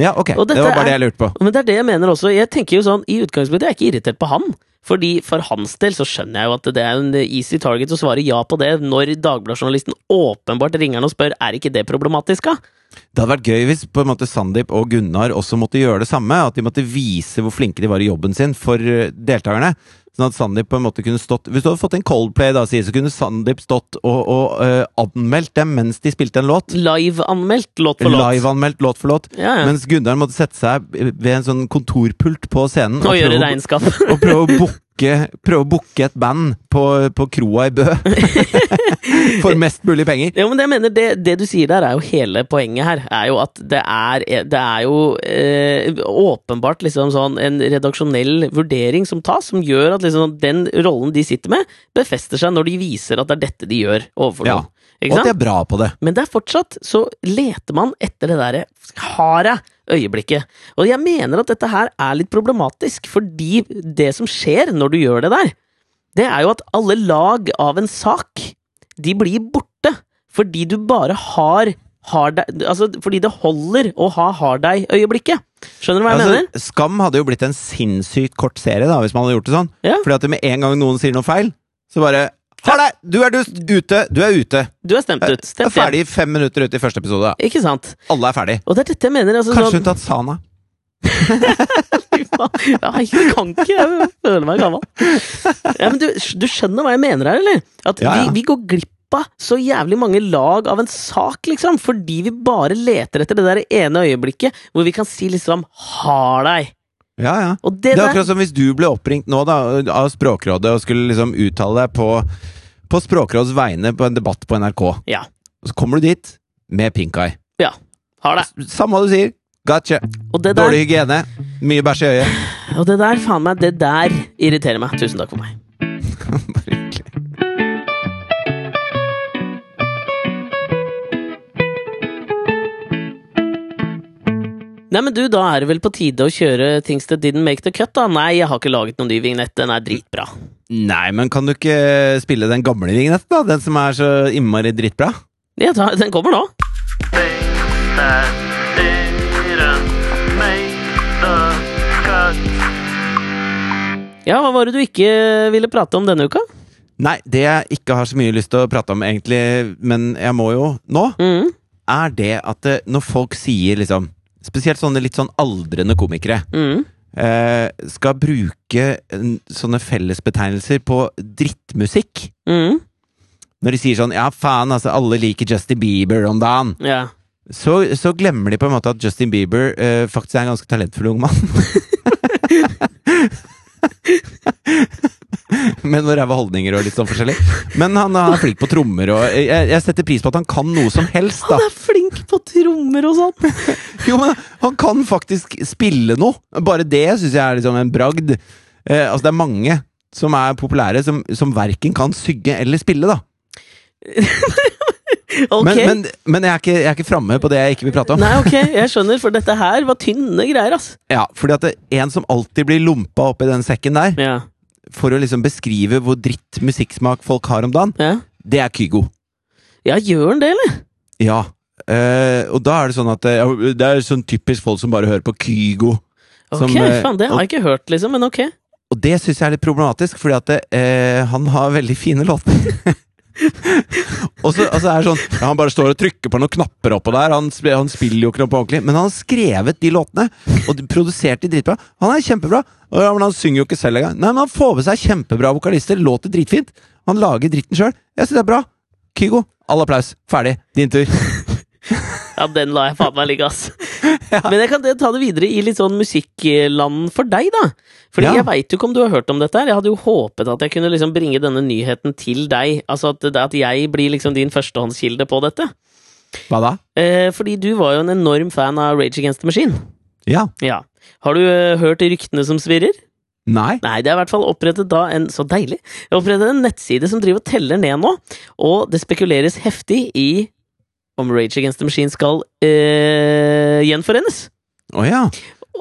S1: Ja, ok.
S2: Og
S1: Det
S2: dette
S1: var bare det
S2: er-
S1: jeg lurte på.
S2: Men det er det jeg mener også. Jeg tenker jo sånn, I utgangspunktet er jeg ikke irritert på han. Fordi For hans del så skjønner jeg jo at det er en easy target å svare ja på det når Dagbladet-journalisten åpenbart ringer han og spør er ikke det problematisk. da?
S1: Det hadde vært gøy hvis på en måte Sandeep og Gunnar også måtte gjøre det samme. At de måtte vise hvor flinke de var i jobben sin for eh, deltakerne. Sånn at Sandeep på en måte kunne stått Hvis du hadde fått en Coldplay, da, si, så kunne Sandeep stått og, og eh, anmeldt dem mens de spilte en låt.
S2: Live-anmeldt låt for låt.
S1: Live-anmeldt låt for låt.
S2: Ja, ja.
S1: Mens Gunnar måtte sette seg ved en sånn kontorpult på scenen
S2: Og gjøre
S1: prøve,
S2: regnskap.
S1: å- og prøve å booke Prøve å booke et band på, på kroa i Bø.
S2: (laughs)
S1: for mest mulig penger.
S2: Ja, men det jeg mener, det, det du sier der, er jo hele poenget her. Er jo at det er, det er jo eh, åpenbart liksom sånn en redaksjonell vurdering som tas, som gjør at liksom den rollen de sitter med, befester seg når de viser at det er dette de gjør overfor
S1: Ja.
S2: noen.
S1: Og
S2: Ikke
S1: at de
S2: sant?
S1: er bra på det.
S2: Men det er fortsatt, så leter man etter det derre harde øyeblikket. Og jeg mener at dette her er litt problematisk, fordi det som skjer når du gjør det der, det er jo at alle lag av en sak, de blir borte. Fordi du bare har har deg, altså fordi det holder å ha har deg-øyeblikket. Skjønner du hva jeg mener?
S1: Altså, Skam hadde jo blitt en sinnssykt kort serie da, hvis man hadde gjort det sånn.
S2: Ja.
S1: Fordi at med en gang noen sier noe feil, så bare Ha deg! Du er dust! Ute! Du er ute!
S2: Du er stemt ut.
S1: Du er
S2: Stemt
S1: ferdig
S2: igjen.
S1: fem minutter ute i første episode. da.
S2: Ikke sant?
S1: Alle er ferdig.
S2: Og det er dette jeg mener. Altså,
S1: Kanskje
S2: sånn,
S1: unntatt Sana.
S2: Nei, jeg kan ikke! Jeg føler meg gammel. Ja, men du, du skjønner hva jeg mener her, eller? At
S1: Ja, ja.
S2: Vi, vi går glipp av så jævlig mange lag av en sak, liksom, fordi vi bare leter etter det der ene øyeblikket hvor vi kan si liksom 'har deg'.
S1: Ja, ja.
S2: Og det,
S1: Det er
S2: der
S1: akkurat som hvis du ble oppringt nå da, av Språkrådet og skulle liksom uttale deg på på Språkråds vegne på en debatt på NRK.
S2: Ja.
S1: Og så kommer du dit med pink eye.
S2: Har det.
S1: Samme hva du sier. Gotcha.
S2: Og det der,
S1: Dårlig hygiene. Mye bæsj i øyet.
S2: (laughs) og det der, faen meg, det der irriterer meg. Tusen takk for meg.
S1: Bare hyggelig.
S2: Nei, men du, da er det vel på tide å kjøre things that didn't make the cut, da? Nei, jeg har ikke laget noen ny vignett, den er dritbra.
S1: Nei, men kan du ikke spille den gamle vignetten, da? Den som er så innmari drittbra?
S2: Ja, da, den kommer nå.
S3: things that didn't make the cut.
S2: Ja, hva var det du ikke ville prate om denne uka?
S1: Nei, det jeg ikke har så mye lyst til å prate om egentlig, men jeg må jo nå,
S2: Mm.
S1: er det at eh, når folk sier liksom Spesielt sånne litt sånn aldrende komikere.
S2: Mm.
S1: eh, skal bruke en, sånne fellesbetegnelser på drittmusikk.
S2: Mm.
S1: Når de sier sånn 'ja, faen, altså, alle liker Justin Bieber om dagen',
S2: Ja.
S1: så, så glemmer de på en måte at Justin Bieber eh, faktisk er en ganske talentfull ung mann. (laughs) Men noen ræva holdninger og litt sånn forskjellig. Men han er flink på trommer, og eh, jeg, jeg setter pris på at han kan noe som helst, da.
S2: Han er flink på trommer og sånn!
S1: Jo, men han kan faktisk spille noe. Bare det syns jeg er liksom en bragd. Eh, altså, det er mange som er populære, som, som verken kan sygge eller spille, da.
S2: (laughs) Ok.
S1: Men,
S2: (laughs)
S1: men, men jeg er ikke, jeg er ikke framme på det jeg ikke vil prate om.
S2: Nei, ok, jeg skjønner, for dette her var tynne greier, ass.
S1: Ja, fordi at det, en som alltid blir lompa oppi den sekken der,
S2: Ja.
S1: for å liksom beskrive hvor dritt musikksmak folk har om dagen,
S2: Ja,
S1: det er Kygo.
S2: ja gjør han det, eller?
S1: Ja. Eh, og da er det sånn at eh, Det er sånn typisk folk som bare hører på Kygo.
S2: Ok,
S1: Som, eh,
S2: faen, det har jeg ikke hørt, liksom, men ok.
S1: Og det syns jeg er litt problematisk, fordi at eh, han har veldig fine låter. (laughs) og så og så er det sånn ja, Han bare står og trykker på noen knapper oppå der. Han, sp- han spiller jo ikke noe på ordentlig, men han har skrevet de låtene. Og de- produsert de dritbra. Han er kjempebra, og, ja, men han synger jo ikke selv engang. Nei, men han får med seg kjempebra vokalister. Låter dritfint. Han lager dritten sjøl. Jeg syns det er bra. Kygo, all applaus. Ferdig. Din tur.
S2: Ja, den la jeg faen meg ligge,
S1: (laughs)
S2: ass. Men jeg kan det- ta det videre i litt sånn musikkland for deg, da. Fordi
S1: Ja.
S2: jeg veit jo ikke om du har hørt om dette her. Jeg hadde jo håpet at jeg kunne liksom bringe denne nyheten til deg. Altså at, at jeg blir liksom din førstehåndskilde på dette.
S1: Hva da?
S2: Eh, fordi du var jo en enorm fan av Rage Against the Machine.
S1: Ja.
S2: Ja. Har du eh, hørt ryktene som svirrer?
S1: Nei.
S2: Nei, det er i hvert fall opprettet da en Så deilig! Det er Opprettet en nettside som driver og teller ned nå, og det spekuleres heftig i om Rage Against the Machine skal eh, gjenforenes.
S1: Å ja.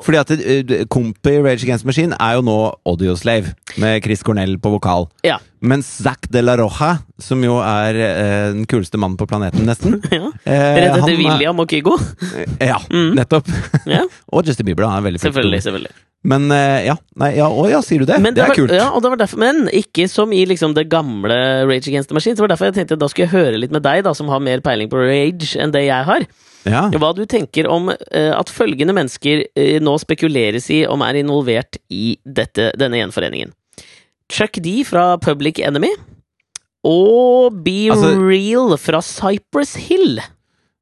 S1: Fordi at eh, kompi Rage Against the Machine er jo nå Audioslave, med Chris Cornell på vokal.
S2: Ja.
S1: Mens Zac de la Roja, som jo er eh, den kuleste mannen på planeten, nesten
S2: (laughs) Ja.
S1: eh,
S2: Rett
S1: han
S2: etter
S1: er-
S2: William og Kygo.
S1: (laughs) Ja,
S2: Mm.
S1: nettopp. (laughs)
S2: Ja.
S1: og Justin Bieber, da. Han er veldig flink.
S2: Selvfølgelig. selvfølgelig
S1: Men eh, ja. Nei, ja. Å ja, sier du det?
S2: Men
S1: det er
S2: var,
S1: kult.
S2: Ja, og det var derfor, men ikke som i liksom det gamle Rage Against the Machine. Så det var derfor jeg tenkte da skulle jeg høre litt med deg, da som har mer peiling på rage enn det jeg har.
S1: Ja.
S2: Hva du tenker om eh, at følgende mennesker eh, nå spekuleres i om er involvert i dette, denne gjenforeningen. Chuck D fra Public Enemy. Og Be
S1: Altså-
S2: Real fra Cypress Hill.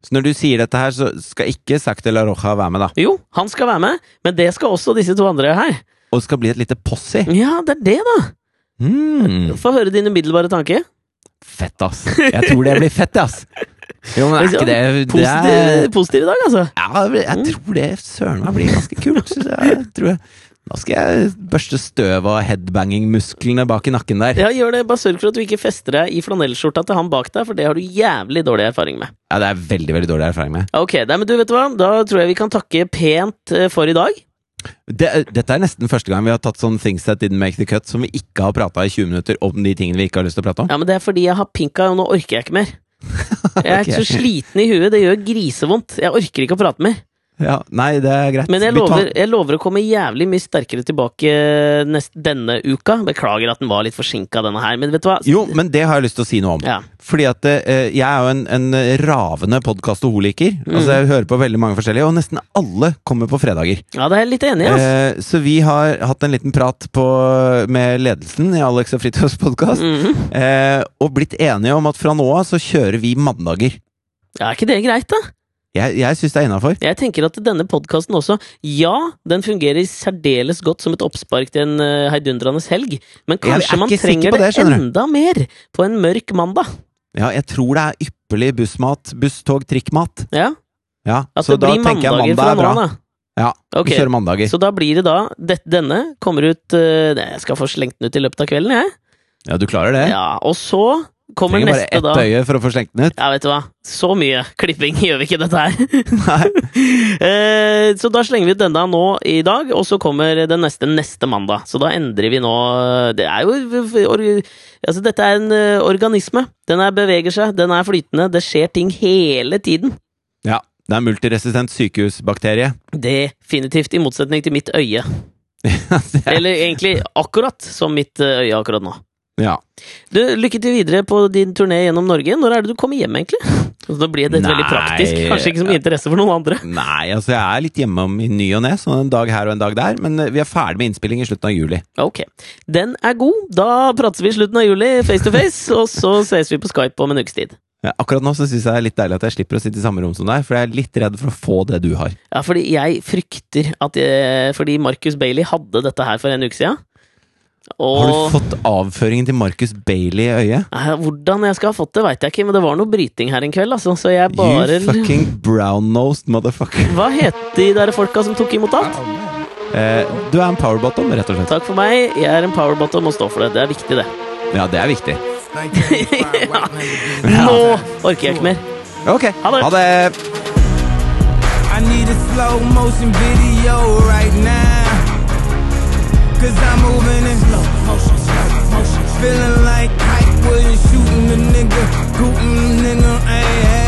S1: Så når du sier dette her, så skal ikke Zac de la Roja være med, da.
S2: Jo, han skal være med, men det skal også disse to andre her.
S1: Og det skal bli et lite posse.
S2: Ja, det er det, da.
S1: Mm.
S2: Få høre din umiddelbare tanke.
S1: Fett, ass. Jeg tror det blir fett, ass. Jo, men er ikke det, det er,
S2: Positiv, positiv i dag, altså.
S1: Ja, jeg tror det søren meg blir ganske kult. synes Jeg Jeg tror jeg. Da skal jeg børste støv av headbanging-musklene bak i nakken der.
S2: Ja, gjør det. Bare sørg for at du ikke fester deg i flanellskjorta til han bak deg, for det har du jævlig dårlig erfaring med.
S1: Ja, Det er veldig veldig dårlig erfaring med.
S2: Ok, nei, men du vet du hva, da tror jeg vi kan takke pent eh, for i dag.
S1: Det, dette er nesten første gang vi har tatt sånne things that didn't make the cut, som vi ikke har prata i 20 minutter om de tingene vi ikke har lyst til å prate om.
S2: (laughs) Ja, men det er fordi jeg har pinka, og nå orker jeg ikke mer. Jeg
S1: (laughs)
S2: er
S1: Ok.
S2: så sliten i huet, det gjør grisevondt. Jeg orker ikke å prate mer.
S1: Ja, Nei, det er greit.
S2: Men jeg
S1: Vi tar-
S2: lover, jeg lover å komme jævlig mye sterkere tilbake eh, nest, denne uka. Beklager at den var litt forsinka, denne her, men vet du hva?
S1: Jo, men det har jeg lyst til å si noe om.
S2: Ja.
S1: Fordi at eh, jeg er jo en, en ravende podkastoholiker.
S2: Mm.
S1: Altså, jeg hører på veldig mange forskjellige, og nesten alle kommer på fredager.
S2: ja, det er jeg litt enig i, altså.
S1: Eh, så vi har hatt en liten prat på, med ledelsen i Alex og Fritjofs podkast.
S2: Mhm.
S1: Eh, og blitt enige om at fra nå av så kjører vi mandager.
S2: Ja, er ikke det greit, da?
S1: Jeg, jeg syns det er innafor.
S2: Jeg tenker at denne podkasten også Ja, den fungerer særdeles godt som et oppspark til en eh, heidundrende helg, men
S1: Jeg er
S2: kanskje man
S1: ikke sikker
S2: trenger
S1: på
S2: det,
S1: det, skjønner du.
S2: enda mer på en mørk mandag.
S1: Ja, jeg tror det er ypperlig bussmat. Buss, tog, trikkmat.
S2: Ja,
S1: Ja,
S2: At
S1: så
S2: det
S1: da
S2: blir
S1: tenker jeg
S2: mandager fra
S1: mandag er
S2: nå
S1: bra.
S2: av, da.
S1: Ja,
S2: Ok,
S1: vi kjører mandager.
S2: Så da blir det da det, Denne kommer ut eh, nei, Jeg skal få slengt den ut i løpet av kvelden, jeg.
S1: Ja, du klarer det?
S2: Ja, og så kommer
S1: Trenger bare
S2: neste
S1: ett
S2: da.
S1: øye for å få slengt den ut.
S2: Ja, vet du hva. Så mye klipping (laughs) gjør vi ikke dette her.
S1: Nei.
S2: (laughs) Eh, så da slenger vi ut denne nå i dag, og så kommer den neste neste mandag. Så da endrer vi nå eh, Det er jo or, Altså, dette er en eh, organisme. Den er beveger seg, den er flytende, det skjer ting hele tiden.
S1: Ja, det er multiresistent sykehusbakterie. (laughs)
S2: Definitivt, i motsetning til mitt øye.
S1: Altså,
S2: Eller egentlig akkurat som mitt eh, øye akkurat nå.
S1: ja.
S2: Du, Lykke til videre på din turné gjennom Norge. Når er det du kommer hjem, egentlig? (laughs) Altså, da blir dette veldig
S1: Nei.
S2: praktisk. Kanskje ikke så mye interesse for noen andre.
S1: Nei, altså jeg er litt hjemme om i ny og ne, sånn en dag her og en dag der, men eh, vi er ferdig med innspilling i slutten av juli.
S2: Ok. Den er god. Da prates vi i slutten av juli, face to face, (laughs) og så ses vi på Skype om en ukes tid.
S1: Ja, akkurat nå så syns jeg det er litt deilig at jeg slipper å sitte i samme rom som deg, for jeg er litt redd for å få det du har.
S2: Ja, fordi jeg frykter at jeg, Fordi Marcus Bailey hadde dette her for en uke siden.
S1: Har du
S2: Og
S1: fått avføringen til Marcus Bailey i øyet?
S2: Nei, hvordan jeg skal ha fått det, veit jeg ikke, men det var noe bryting her en kveld, altså. Så jeg bare
S1: You fucking brown-nosed motherfucker.
S2: Hva het de der folka som tok imot alt?
S1: Eh, du er en powerbottom, rett og slett.
S2: Takk for meg. Jeg er en powerbottom og står for det. Det er viktig, det.
S1: Ja, det er viktig.
S2: Nå orker jeg ikke mer.
S1: Ok,
S2: Ha det.
S1: Ha det.
S4: I need a slow motion video right now. Cause I'm moving in slow motion, slow motion. Feeling like Hype Williams shooting a nigga, booting a nigga, ayy.